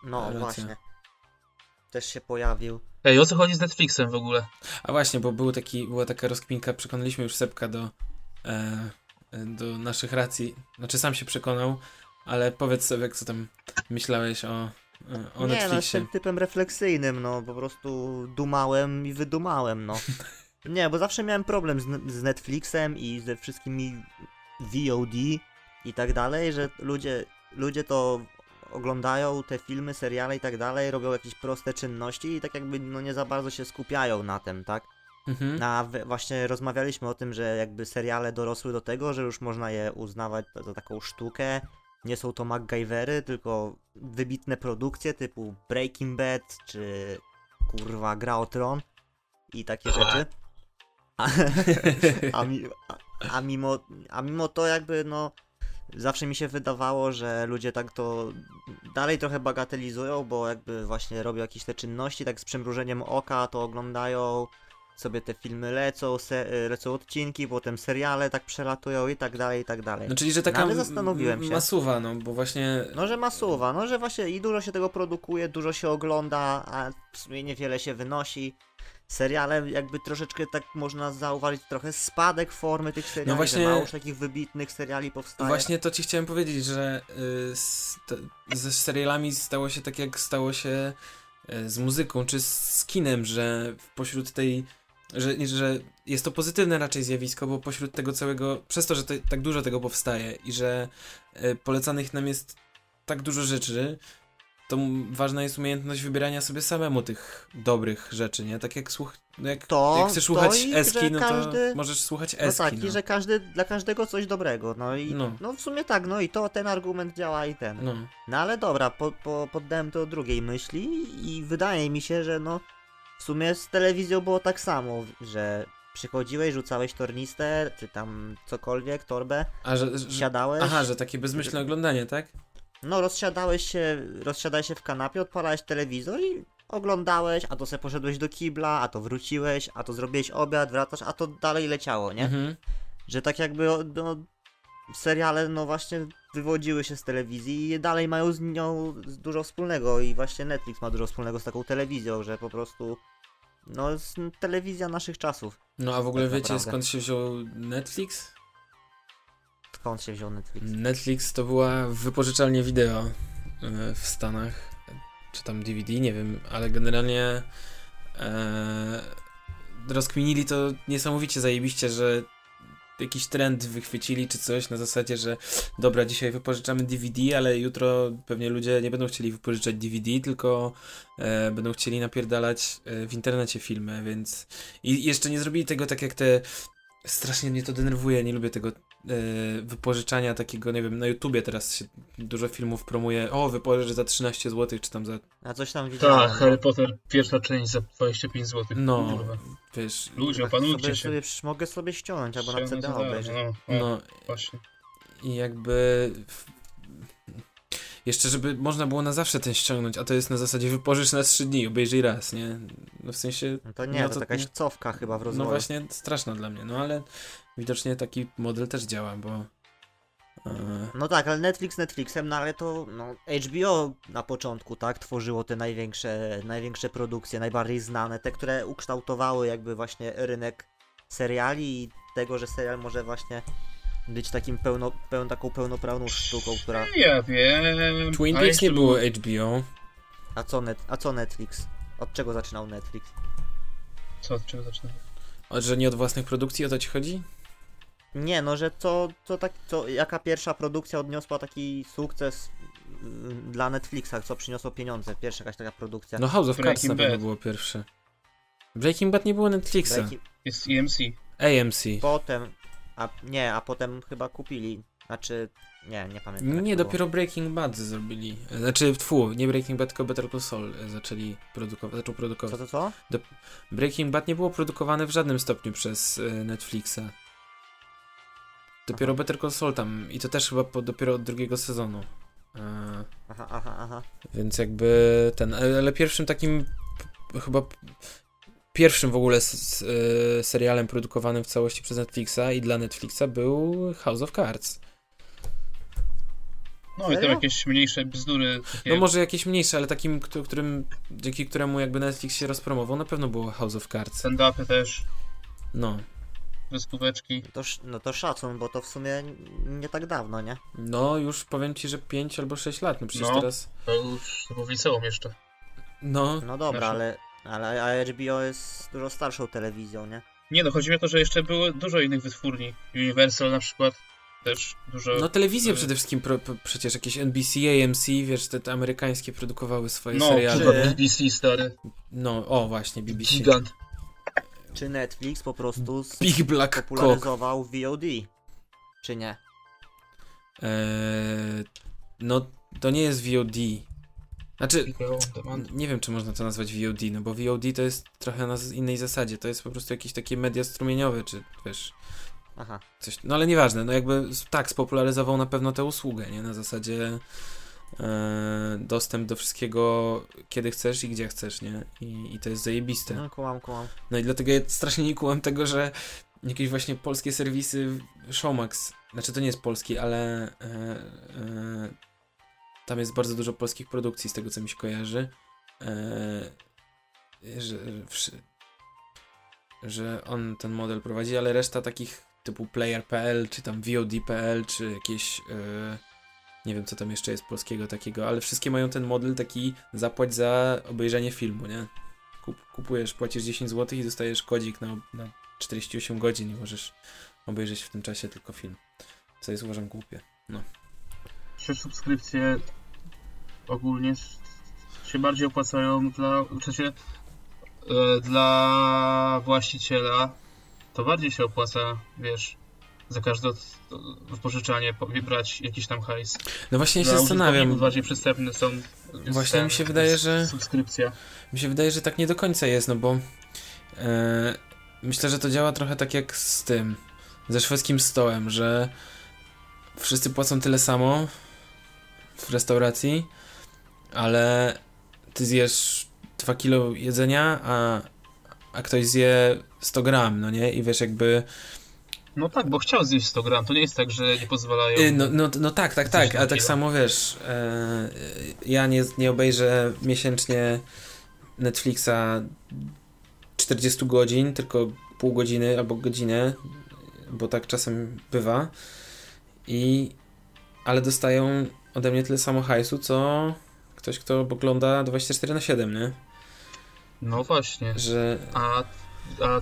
[SPEAKER 3] No
[SPEAKER 2] Racja.
[SPEAKER 3] właśnie. Też się pojawił.
[SPEAKER 4] Ej, o co chodzi z Netflixem w ogóle?
[SPEAKER 2] A właśnie, bo był taki, była taka rozkminka, przekonaliśmy już Sepka do, e, e, do naszych racji. Znaczy, sam się przekonał, ale powiedz sobie, co tam myślałeś o, e, o
[SPEAKER 3] nie, no
[SPEAKER 2] Netflixie.
[SPEAKER 3] jestem typem refleksyjnym, no po prostu dumałem i
[SPEAKER 2] [laughs]
[SPEAKER 3] wydumałem, no. nie, bo zawsze miałem problem z, ne- z Netflixem i ze wszystkimi VOD i tak dalej, że ludzie, ludzie to oglądają te filmy, seriale i tak dalej, robią jakieś proste czynności i tak jakby no nie za bardzo się skupiają na tym, tak?
[SPEAKER 2] Mhm. [laughs]
[SPEAKER 3] Na, [laughs] we- właśnie rozmawialiśmy o tym, że jakby seriale dorosły do tego, że już można je uznawać za- za taką sztukę. Nie są to MacGyvery, tylko wybitne produkcje typu Breaking Bad czy kurwa Gra o Tron i takie rzeczy. A,
[SPEAKER 2] [laughs]
[SPEAKER 3] a, mi, a, a, mimo, a mimo to jakby no zawsze mi się wydawało, że ludzie tak to dalej trochę bagatelizują, bo jakby właśnie robią jakieś te czynności tak z przymrużeniem oka, to oglądają sobie te filmy lecą, se, lecą odcinki, potem seriale tak przelatują i tak dalej, i tak dalej.
[SPEAKER 2] No czyli, że taka
[SPEAKER 3] No, ale zastanowiłem
[SPEAKER 2] m-
[SPEAKER 3] się.
[SPEAKER 2] masuwa, no bo właśnie...
[SPEAKER 3] No, że masuwa, no, że właśnie i dużo się tego produkuje, dużo się ogląda, a w sumie niewiele się wynosi. Seriale jakby troszeczkę tak można zauważyć trochę spadek formy tych seriali,
[SPEAKER 2] No właśnie-
[SPEAKER 3] że mało już takich wybitnych seriali powstaje.
[SPEAKER 2] Właśnie to ci chciałem powiedzieć, że y, z, te, ze serialami stało się tak, jak stało się y, z muzyką czy z, z kinem, że pośród tej. Że, że jest to pozytywne raczej zjawisko, bo pośród tego całego. Przez to, że te, tak dużo tego powstaje i że y, polecanych nam jest tak dużo rzeczy, to m- ważna jest umiejętność wybierania sobie samemu tych dobrych rzeczy, nie? Tak jak słuch. Jak,
[SPEAKER 3] To-
[SPEAKER 2] jak chcesz
[SPEAKER 3] to
[SPEAKER 2] słuchać
[SPEAKER 3] i że
[SPEAKER 2] Eski, no
[SPEAKER 3] każdy-
[SPEAKER 2] to możesz słuchać
[SPEAKER 3] No
[SPEAKER 2] Eski.
[SPEAKER 3] tak,
[SPEAKER 2] no.
[SPEAKER 3] i że każdy, dla każdego coś dobrego, no i
[SPEAKER 2] No.
[SPEAKER 3] no. w sumie tak, no i to ten argument działa i ten.
[SPEAKER 2] no.
[SPEAKER 3] No ale dobra, po, po, poddałem to drugiej myśli i wydaje mi się, że no w sumie z telewizją było tak samo, że przychodziłeś, rzucałeś tornistę, czy tam cokolwiek, torbę,
[SPEAKER 2] A że, że,
[SPEAKER 3] siadałeś,
[SPEAKER 2] Aha, że takie bezmyślne oglądanie, tak?
[SPEAKER 3] no rozsiadałeś się, rozsiadałeś się w kanapie, odpalałeś telewizor i oglądałeś, a to sobie poszedłeś do kibla, a to wróciłeś, a to zrobiłeś obiad, wracasz, a to dalej leciało, nie?
[SPEAKER 2] Mhm.
[SPEAKER 3] Że tak jakby no, seriale no właśnie wywodziły się z telewizji i dalej mają z nią dużo wspólnego i właśnie Netflix ma dużo wspólnego z taką telewizją, że po prostu no jest telewizja naszych czasów.
[SPEAKER 2] No a w ogóle
[SPEAKER 3] Tak
[SPEAKER 2] wiecie
[SPEAKER 3] naprawdę.
[SPEAKER 2] skąd się wziął Netflix?
[SPEAKER 3] Skąd się wziął Netflix?
[SPEAKER 2] Mm. Netflix to była wypożyczalnia wideo e, w Stanach, czy tam DVD, nie wiem, ale generalnie e, rozkminili to niesamowicie zajebiście, że jakiś trend wychwycili czy coś na zasadzie, że dobra, dzisiaj wypożyczamy DVD, ale jutro pewnie ludzie nie będą chcieli wypożyczać DVD, tylko e, będą chcieli napierdalać e, w internecie filmy, więc i jeszcze nie zrobili tego tak jak te strasznie mnie to denerwuje, nie lubię tego e, wypożyczania takiego, nie wiem, na YouTubie teraz się dużo filmów promuje, o wypożycz za 13 zł, czy tam za,
[SPEAKER 3] A coś tam widziałem.
[SPEAKER 4] Tak, Harry Potter, pierwsza część za 25 zł.
[SPEAKER 2] No.
[SPEAKER 4] Kurwa.
[SPEAKER 2] wiesz,
[SPEAKER 4] Ludzie,
[SPEAKER 3] Tak
[SPEAKER 4] opanujcie
[SPEAKER 3] sobie,
[SPEAKER 4] się.
[SPEAKER 3] sobie, psz- mogę sobie ściągnąć albo na
[SPEAKER 4] Ściągnę
[SPEAKER 3] CD
[SPEAKER 4] za darmo,
[SPEAKER 3] obejrzeć.
[SPEAKER 4] No, no.
[SPEAKER 2] no
[SPEAKER 4] Właśnie.
[SPEAKER 2] i jakby w- jeszcze żeby można było na zawsze ten ściągnąć, a to jest na zasadzie wypożycz na 3 dni, obejrzyj raz, nie? No w sensie
[SPEAKER 3] No to nie,
[SPEAKER 2] No
[SPEAKER 3] to,
[SPEAKER 2] to
[SPEAKER 3] jakaś
[SPEAKER 2] nie.
[SPEAKER 3] cofka chyba w
[SPEAKER 2] No
[SPEAKER 3] rozwoju.
[SPEAKER 2] właśnie, straszna dla mnie, no ale widocznie taki model też działa, bo. e,
[SPEAKER 3] No tak, ale Netflix Netflixem, no ale to no, HBO na początku, tak, tworzyło te największe, największe produkcje, najbardziej znane, te, które ukształtowały jakby właśnie rynek seriali i tego, że serial może właśnie być takim pełno, peł, taką pełnoprawną sztuką, która...
[SPEAKER 4] No Ja wiem.
[SPEAKER 2] Twin
[SPEAKER 4] a
[SPEAKER 2] Peaks
[SPEAKER 4] jeszcze
[SPEAKER 2] nie było HBO.
[SPEAKER 3] A co, net, a co Netflix? Od czego zaczynał Netflix?
[SPEAKER 4] Co, od czego zaczynamy?
[SPEAKER 2] A że nie od własnych produkcji, o to ci chodzi?
[SPEAKER 3] Nie, no że co, co tak, co, jaka pierwsza produkcja odniosła taki sukces mm, dla Netflixa, co przyniosło pieniądze, pierwsza jakaś taka produkcja.
[SPEAKER 2] No House of Cards
[SPEAKER 4] Breaking
[SPEAKER 2] na pewno
[SPEAKER 4] Bad.
[SPEAKER 2] było pierwsze. Breaking Bad nie było Netflixa.
[SPEAKER 3] Breaking- Tak,
[SPEAKER 4] Jest E EMC.
[SPEAKER 2] AMC.
[SPEAKER 3] Potem, a nie, a potem chyba kupili. Znaczy, nie, nie pamiętam. jak
[SPEAKER 2] Nie,
[SPEAKER 3] to
[SPEAKER 2] dopiero Breaking Bad zrobili. Znaczy, tfu, nie Breaking Bad, tylko Better Call Saul e, zaczęli produkować, zaczął
[SPEAKER 3] Było. Co
[SPEAKER 2] produkować.
[SPEAKER 3] to co?
[SPEAKER 2] Breaking Bad nie było produkowane w żadnym stopniu przez e, Netflixa. Dopiero Better Call Saul tam i to też chyba po, dopiero od drugiego sezonu. E,
[SPEAKER 3] Aha, aha, aha.
[SPEAKER 2] Więc jakby ten, e, ale ale pierwszym takim p- chyba p- pierwszym w ogóle s- s- y, serialem produkowanym w całości przez Netflixa i dla Netflixa był House of Cards.
[SPEAKER 4] No i tam
[SPEAKER 3] Serio?
[SPEAKER 4] jakieś mniejsze bzdury. Takie...
[SPEAKER 2] No może jakieś mniejsze, ale takim, któ- którym, dzięki któremu jakby Netflix się rozpromował, na pewno było House of Cards.
[SPEAKER 4] Stand-upy też,
[SPEAKER 2] No,
[SPEAKER 4] kreskóweczki.
[SPEAKER 3] To, sz- no to szacun, bo to w sumie nie tak dawno, nie?
[SPEAKER 2] no już powiem ci, że 5 albo 6 lat, no przecież
[SPEAKER 4] No.
[SPEAKER 2] teraz...
[SPEAKER 4] To już to było w liceum jeszcze.
[SPEAKER 2] No,
[SPEAKER 3] No dobra,
[SPEAKER 4] Znaczy-
[SPEAKER 3] ale, ale a HBO jest dużo starszą telewizją, nie?
[SPEAKER 4] Nie no, chodzi mi o to, że jeszcze było dużo innych wytwórni. Universal na przykład też dużo.
[SPEAKER 2] no telewizje
[SPEAKER 4] y-
[SPEAKER 2] przede wszystkim, pro, pro- przecież jakieś NBC, AMC, wiesz, te, te amerykańskie produkowały swoje
[SPEAKER 4] No,
[SPEAKER 2] seriale.
[SPEAKER 4] kurwa,
[SPEAKER 3] Czy-
[SPEAKER 4] BBC stary.
[SPEAKER 2] No, o właśnie, BBC.
[SPEAKER 4] Gigant.
[SPEAKER 3] Czy Netflix po prostu s-
[SPEAKER 2] Big Black Cock.
[SPEAKER 3] popularyzował VOD? Czy nie?
[SPEAKER 2] Eee, no, to nie jest VOD. Znaczy, n- nie wiem, czy można to nazwać VOD, no bo VOD to jest trochę na z- innej zasadzie. To jest po prostu jakieś takie media strumieniowe, czy wiesz,
[SPEAKER 3] Aha.
[SPEAKER 2] coś. No ale nieważne, no jakby s- tak spopularyzował na pewno tę usługę, nie? Na zasadzie e, dostęp do wszystkiego, kiedy chcesz i gdzie chcesz, nie? I, i to jest zajebiste.
[SPEAKER 3] No, kołam, kołam.
[SPEAKER 2] No i dlatego ja strasznie nie kułam tego, że jakieś właśnie polskie serwisy Showmax, znaczy to nie jest polski, ale e, e, tam jest bardzo dużo polskich produkcji z tego co mi się kojarzy. E, że, wszy- że on ten model prowadzi, ale reszta takich typu player.pl, czy tam VOD.pl, czy jakieś e, nie wiem co tam jeszcze jest polskiego takiego, ale wszystkie mają ten model taki zapłać za obejrzenie filmu, nie? Kup, kupujesz, płacisz 10 zł i dostajesz kodzik na, na 48 godzin i możesz obejrzeć w tym czasie tylko film. Co jest uważam głupie.
[SPEAKER 4] Czy subskrypcje ogólnie s- się bardziej opłacają dla, w sensie, e, dla właściciela, to bardziej się opłaca, wiesz, za każde od- wypożyczanie po- brać jakiś tam hajs.
[SPEAKER 2] No właśnie ja się
[SPEAKER 4] Dla
[SPEAKER 2] zastanawiam.
[SPEAKER 4] użytkowników bardziej przystępne są e,
[SPEAKER 2] Właśnie mi się wydaje, że-
[SPEAKER 4] Subskrypcja.
[SPEAKER 2] Mi się wydaje, że tak nie do końca jest, no bo e, myślę, że to działa trochę tak jak z tym, ze szwedzkim stołem, że wszyscy płacą tyle samo w restauracji, ale ty zjesz 2 kilo jedzenia, a, a ktoś zje 100 gram, no nie? I wiesz, jakby...
[SPEAKER 4] No tak, bo chciał zjeść 100 gram, to nie jest tak, że nie pozwalają.
[SPEAKER 2] Y, No, no, no tak, tak, tak,
[SPEAKER 4] Coś
[SPEAKER 2] ale tak
[SPEAKER 4] takiego.
[SPEAKER 2] samo wiesz, e, ja nie, nie obejrzę miesięcznie Netflixa 40 godzin, tylko pół godziny albo godzinę, bo tak czasem bywa. I ale dostają ode mnie tyle samo hajsu, co ktoś, kto ogląda 24 na 7, nie?
[SPEAKER 4] No właśnie.
[SPEAKER 2] Że
[SPEAKER 4] A, a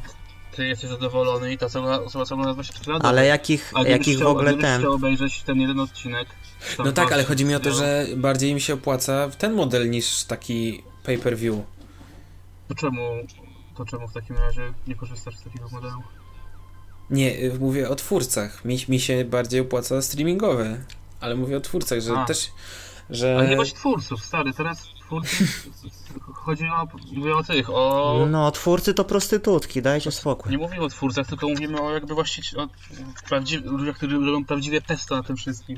[SPEAKER 4] ty jesteś zadowolony i ta cała osoba co ogląda 24 lat.
[SPEAKER 3] Ale jakich,
[SPEAKER 4] No A
[SPEAKER 3] jakich
[SPEAKER 4] chciał,
[SPEAKER 3] w ogóle
[SPEAKER 4] a gdybyś
[SPEAKER 3] ten...
[SPEAKER 4] chciał obejrzeć ten jeden odcinek. to
[SPEAKER 2] No tak,
[SPEAKER 4] masz-
[SPEAKER 2] ale chodzi mi o to,
[SPEAKER 4] no,
[SPEAKER 2] że bardziej mi się opłaca ten model niż taki pay-per-view.
[SPEAKER 4] To czemu, to czemu w takim razie nie korzystasz z takiego modelu?
[SPEAKER 2] Nie, y, mówię o twórcach. Mi, mi się bardziej opłaca streamingowe, ale mówię o twórcach, że
[SPEAKER 4] A.
[SPEAKER 2] też.
[SPEAKER 4] Ale nie
[SPEAKER 2] Że...
[SPEAKER 4] bądź twórców, stary, teraz twórcy... [laughs] chodzi o... Mówię o tych, o...
[SPEAKER 3] No, twórcy to prostytutki, dajcie spokój.
[SPEAKER 4] Nie mówimy o twórcach, tylko mówimy o jakby właściwie... o prawdziw... ludziach, którzy robią prawdziwe pesto na tym wszystkim.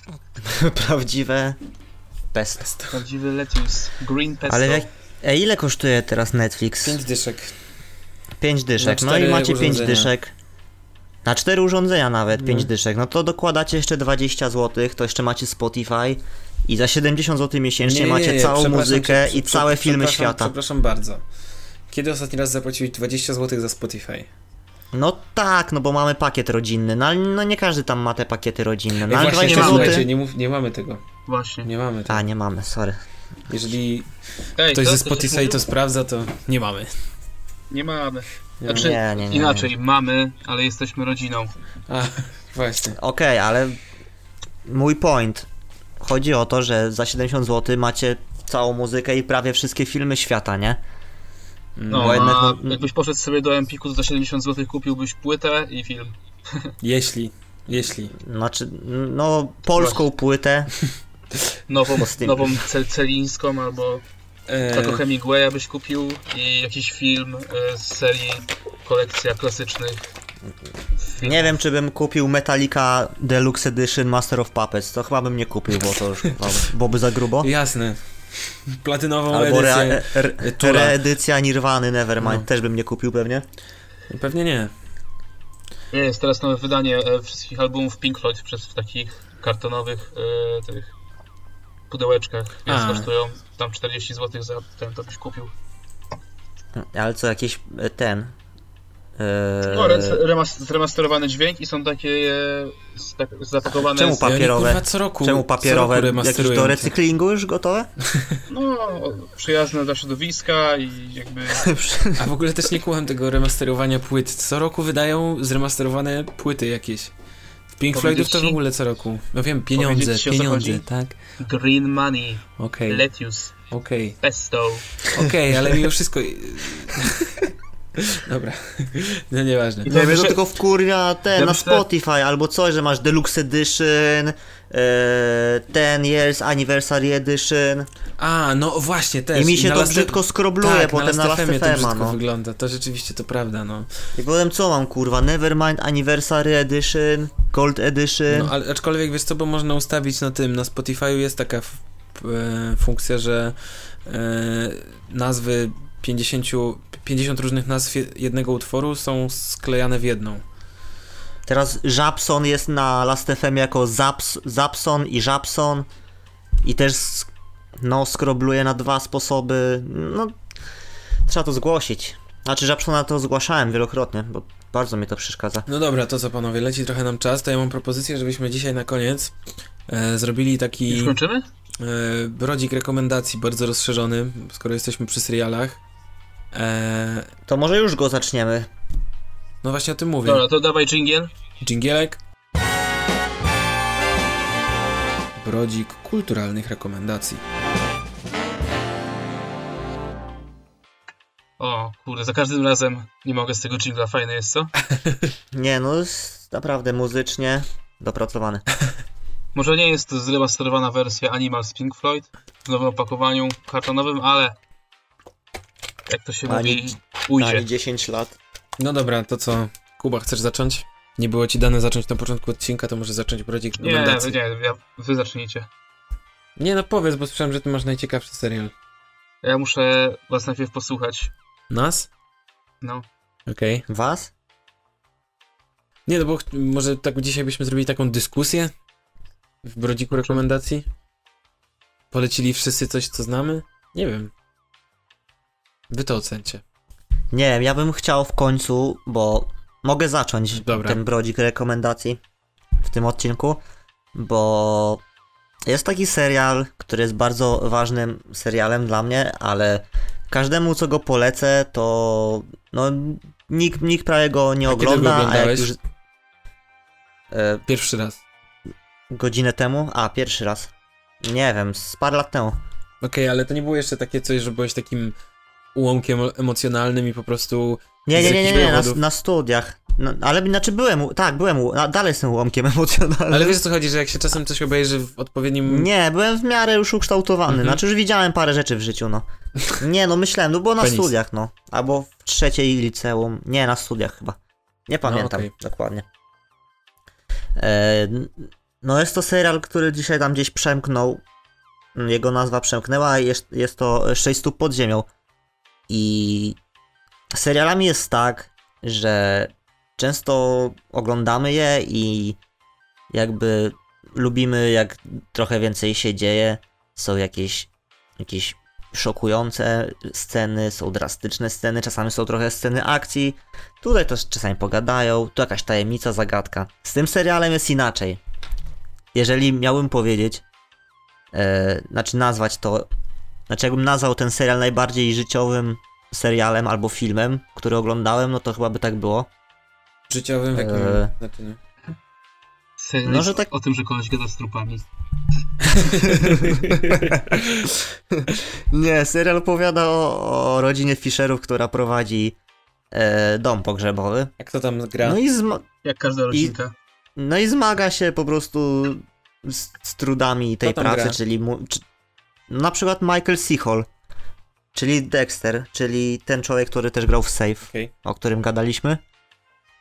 [SPEAKER 3] [laughs] Prawdziwe... Pest.
[SPEAKER 4] Prawdziwy lettuce, green pesto.
[SPEAKER 3] Ale jak... E, ile kosztuje teraz Netflix?
[SPEAKER 2] Pięć dyszek.
[SPEAKER 3] 5 dyszek.
[SPEAKER 2] Na
[SPEAKER 3] No i
[SPEAKER 2] cztery
[SPEAKER 3] macie 5
[SPEAKER 2] urządzenia.
[SPEAKER 3] dyszek. Na 4 urządzenia nawet 5
[SPEAKER 2] No.
[SPEAKER 3] dyszek. No to dokładacie jeszcze 20 zł, to jeszcze macie Spotify i za 70 zł miesięcznie macie całą
[SPEAKER 2] przepraszam
[SPEAKER 3] muzykę
[SPEAKER 2] cię,
[SPEAKER 3] i
[SPEAKER 2] prze-
[SPEAKER 3] całe
[SPEAKER 2] prze-
[SPEAKER 3] filmy
[SPEAKER 2] przepraszam,
[SPEAKER 3] świata.
[SPEAKER 2] Przepraszam bardzo. Kiedy ostatni raz zapłaciłeś 20 zł za Spotify?
[SPEAKER 3] No tak, no bo mamy pakiet rodzinny. No, ale no nie każdy tam ma te pakiety rodzinne. No ale
[SPEAKER 2] właśnie,
[SPEAKER 3] 20
[SPEAKER 4] nie mamy.
[SPEAKER 2] słuchajcie,
[SPEAKER 3] zł.
[SPEAKER 2] nie, mów, nie mamy tego.
[SPEAKER 4] Właśnie.
[SPEAKER 2] Nie mamy tego.
[SPEAKER 3] A, nie mamy, sorry.
[SPEAKER 2] Jeżeli
[SPEAKER 4] Ej,
[SPEAKER 2] ktoś
[SPEAKER 4] co?
[SPEAKER 2] ze
[SPEAKER 4] Coś
[SPEAKER 2] Spotify
[SPEAKER 4] mówił?
[SPEAKER 2] to sprawdza, to nie mamy.
[SPEAKER 4] Nie mamy.
[SPEAKER 2] Nie
[SPEAKER 4] Znaczy,
[SPEAKER 2] mamy.
[SPEAKER 3] Nie, nie, nie.
[SPEAKER 4] Inaczej, mamy, ale jesteśmy rodziną.
[SPEAKER 2] A, właśnie.
[SPEAKER 3] Okej, ale mój point. Chodzi o to, że za 70 zł macie całą muzykę i prawie wszystkie filmy świata, nie?
[SPEAKER 4] No,
[SPEAKER 2] Mm,
[SPEAKER 3] Bo jednak- mm.
[SPEAKER 4] a jakbyś poszedł sobie do Empiku, to za 70 zł kupiłbyś płytę i film.
[SPEAKER 2] Jeśli. Jeśli.
[SPEAKER 3] Znaczy, no, polską płytę, [laughs]
[SPEAKER 4] Nową,
[SPEAKER 3] Bo z tym-
[SPEAKER 4] nową cel, Celińską albo Tato
[SPEAKER 2] E,
[SPEAKER 4] Hemingwaya byś kupił i jakiś film e, z serii kolekcja klasycznych.
[SPEAKER 3] Nie wiem, czy bym kupił Metallica Deluxe Edition Master of Puppets. To chyba bym nie kupił, bo to już chyba byłoby za grubo.
[SPEAKER 2] jasne. Platynową
[SPEAKER 3] Albo re,
[SPEAKER 2] edycję.
[SPEAKER 3] re, re,
[SPEAKER 2] Tura.
[SPEAKER 3] reedycja Nirwany Nevermind
[SPEAKER 2] No.
[SPEAKER 3] też bym nie kupił pewnie.
[SPEAKER 2] Pewnie nie.
[SPEAKER 4] Nie, jest teraz nowe wydanie e, wszystkich albumów Pink Floyd przez w takich kartonowych e, tych pudełeczkach, więc
[SPEAKER 2] A.
[SPEAKER 4] kosztują tam 40 zł za ten, to byś kupił.
[SPEAKER 3] Ale co, jakiś e, ten... e,
[SPEAKER 4] No, re- remas- zremasterowany dźwięk i są takie e, stak- zapakowane...
[SPEAKER 3] Czemu
[SPEAKER 4] z-
[SPEAKER 3] pa-
[SPEAKER 2] Ja
[SPEAKER 3] Papierowe.
[SPEAKER 2] nie, kurwa, co roku,
[SPEAKER 3] czemu
[SPEAKER 2] co roku
[SPEAKER 3] papierowe? Jakieś
[SPEAKER 2] remasterują
[SPEAKER 3] do
[SPEAKER 2] te-
[SPEAKER 3] recyklingu już gotowe?
[SPEAKER 4] No, przyjazne dla środowiska i jakby...
[SPEAKER 2] [laughs] A w ogóle też nie kułem tego remasterowania płyt. Co roku wydają zremasterowane płyty jakieś. W Pink
[SPEAKER 4] Powiedzieć
[SPEAKER 2] Floydów to w
[SPEAKER 4] ci-
[SPEAKER 2] ogóle co roku. No wiem, pieniądze,
[SPEAKER 4] powiedzieć ci, o co
[SPEAKER 2] pieniądze,
[SPEAKER 4] chodzi?
[SPEAKER 2] tak?
[SPEAKER 4] [laughs] Green Money,
[SPEAKER 2] Okej,
[SPEAKER 4] Lettuce,
[SPEAKER 2] okej.
[SPEAKER 4] Pesto.
[SPEAKER 2] Okej, ale mimo wszystko... [laughs] Dobra. No nieważne.
[SPEAKER 4] I
[SPEAKER 3] No,
[SPEAKER 4] to
[SPEAKER 3] wiesz,
[SPEAKER 4] jeszcze-
[SPEAKER 3] tylko wkurwia ten
[SPEAKER 4] Ja
[SPEAKER 3] na
[SPEAKER 4] myślę-
[SPEAKER 3] Spotify albo coś, że masz Deluxe Edition, e, Ten Years Anniversary Edition
[SPEAKER 2] A, no właśnie, też.
[SPEAKER 3] i mi się
[SPEAKER 2] na
[SPEAKER 3] to
[SPEAKER 2] Last-
[SPEAKER 3] brzydko skrobluje
[SPEAKER 2] tak,
[SPEAKER 3] potem na
[SPEAKER 2] na
[SPEAKER 3] Last
[SPEAKER 2] Last FM-ie to
[SPEAKER 3] FM-a,
[SPEAKER 2] brzydko
[SPEAKER 3] no.
[SPEAKER 2] wygląda. To rzeczywiście, to prawda, no.
[SPEAKER 3] I potem co mam kurwa, Nevermind Anniversary Edition, Gold Edition,
[SPEAKER 2] No, ale aczkolwiek wiesz co, bo można ustawić na tym, na Spotify'u jest taka f- p- e, funkcja, że e, nazwy 50, 50 różnych nazw je- jednego utworu są sklejane w jedną.
[SPEAKER 3] teraz Żabson jest na Last FM jako Zaps, Zapson i Żabson i też sk- no skrobluje na dwa sposoby, no trzeba to zgłosić. Znaczy Żabsona to zgłaszałem wielokrotnie, bo bardzo mi to przeszkadza.
[SPEAKER 2] No dobra, to co panowie, leci trochę nam czas, to ja mam propozycję, żebyśmy dzisiaj na koniec e, zrobili taki
[SPEAKER 4] Już kończymy?
[SPEAKER 2] e, brodzik rekomendacji bardzo rozszerzony, skoro jesteśmy przy serialach. E,
[SPEAKER 3] To może już go zaczniemy.
[SPEAKER 2] no właśnie o tym mówię.
[SPEAKER 4] Dobra, to dawaj dżingiel.
[SPEAKER 2] Dżingielek. Brodzik kulturalnych rekomendacji.
[SPEAKER 4] O, kurde, za każdym razem nie mogę z tego dżingla, fajne jest, co?
[SPEAKER 3] Nie, no jest naprawdę muzycznie dopracowany.
[SPEAKER 4] Może nie jest to zremasterowana wersja Animal z Pink Floyd w nowym opakowaniu kartonowym, ale jak to się
[SPEAKER 3] Ani-
[SPEAKER 4] mówi, ujdzie.
[SPEAKER 3] Ani 10 lat.
[SPEAKER 2] No dobra, to co? Kuba, chcesz zacząć? Nie było ci dane zacząć na początku odcinka, to może zacząć brodzik
[SPEAKER 4] Nie, nie,
[SPEAKER 2] rekomendacji.
[SPEAKER 4] ja, wy zacznijcie.
[SPEAKER 2] nie, no powiedz, bo słyszałem, że ty masz najciekawszy serial.
[SPEAKER 4] Ja muszę was najpierw posłuchać.
[SPEAKER 2] Nas?
[SPEAKER 4] No.
[SPEAKER 2] Okej.
[SPEAKER 3] Was?
[SPEAKER 2] Nie, no bo ch- może tak dzisiaj byśmy zrobili taką dyskusję w brodziku rekomendacji? Polecili wszyscy coś, co znamy? Nie wiem. Wy to ocencie.
[SPEAKER 3] Nie wiem, ja bym chciał w końcu, bo mogę zacząć
[SPEAKER 2] Dobra.
[SPEAKER 3] ten brodzik rekomendacji w tym odcinku, bo jest taki serial, który jest bardzo ważnym serialem dla mnie, ale każdemu co go polecę, to no nikt, nikt prawie go nie
[SPEAKER 2] A kiedy go
[SPEAKER 3] ogląda, a jak
[SPEAKER 2] oglądałeś?
[SPEAKER 3] już... E,
[SPEAKER 2] Pierwszy raz.
[SPEAKER 3] godzinę temu? A, pierwszy raz. Nie wiem, z parę lat temu.
[SPEAKER 2] Okej, ale to nie było jeszcze takie coś, że byłeś takim ułomkiem emocjonalnym i po prostu
[SPEAKER 3] Nie,
[SPEAKER 2] Z
[SPEAKER 3] nie, nie, nie,
[SPEAKER 2] jakichś
[SPEAKER 3] nie na,
[SPEAKER 2] powodów.
[SPEAKER 3] na studiach. No, ale znaczy byłem, u- tak, byłem, u- a, dalej jestem [laughs] ułamkiem emocjonalnym.
[SPEAKER 2] Ale wiesz o co chodzi, że jak się czasem coś obejrzy w odpowiednim...
[SPEAKER 3] Nie, byłem w miarę już ukształtowany,
[SPEAKER 2] Mhm.
[SPEAKER 3] znaczy już widziałem parę rzeczy w życiu, no. Nie, no myślałem, no bo na
[SPEAKER 2] Penis.
[SPEAKER 3] studiach, no. Albo w trzeciej liceum, nie, na studiach chyba. Nie pamiętam
[SPEAKER 2] okej.
[SPEAKER 3] dokładnie. E, n- no jest to serial, który dzisiaj tam gdzieś przemknął. Jego nazwa przemknęła i jest, jest to 6 stóp pod ziemią. I z serialami jest tak, że często oglądamy je i jakby lubimy, jak trochę więcej się dzieje. Są jakieś, jakieś szokujące sceny, są drastyczne sceny, czasami są trochę sceny akcji. Tutaj też czasami pogadają, tu jakaś tajemnica, zagadka. Z tym serialem jest inaczej. Jeżeli miałbym powiedzieć, e, znaczy nazwać to, znaczy jakbym nazwał ten serial najbardziej życiowym serialem albo filmem, który oglądałem, no to chyba by tak było.
[SPEAKER 2] Życiowym w jakim znaczy
[SPEAKER 3] Eee.
[SPEAKER 2] znaczeniu?
[SPEAKER 4] Serial
[SPEAKER 3] No,
[SPEAKER 4] jest
[SPEAKER 3] że tak-
[SPEAKER 4] o tym, że koleś gada z trupami.
[SPEAKER 3] [laughs] Nie, serial opowiada o, o rodzinie Fisherów, która prowadzi e, dom pogrzebowy.
[SPEAKER 2] A kto tam gra?
[SPEAKER 3] No i, zma-
[SPEAKER 4] Jak każda rodzinka.
[SPEAKER 3] no i zmaga się po prostu z, z trudami tej
[SPEAKER 2] tam
[SPEAKER 3] pracy,
[SPEAKER 2] gra?
[SPEAKER 3] czyli mu, czy, na przykład Michael Seahol, czyli Dexter, czyli ten człowiek, który też grał w Safe,
[SPEAKER 2] Okej.
[SPEAKER 3] o którym gadaliśmy.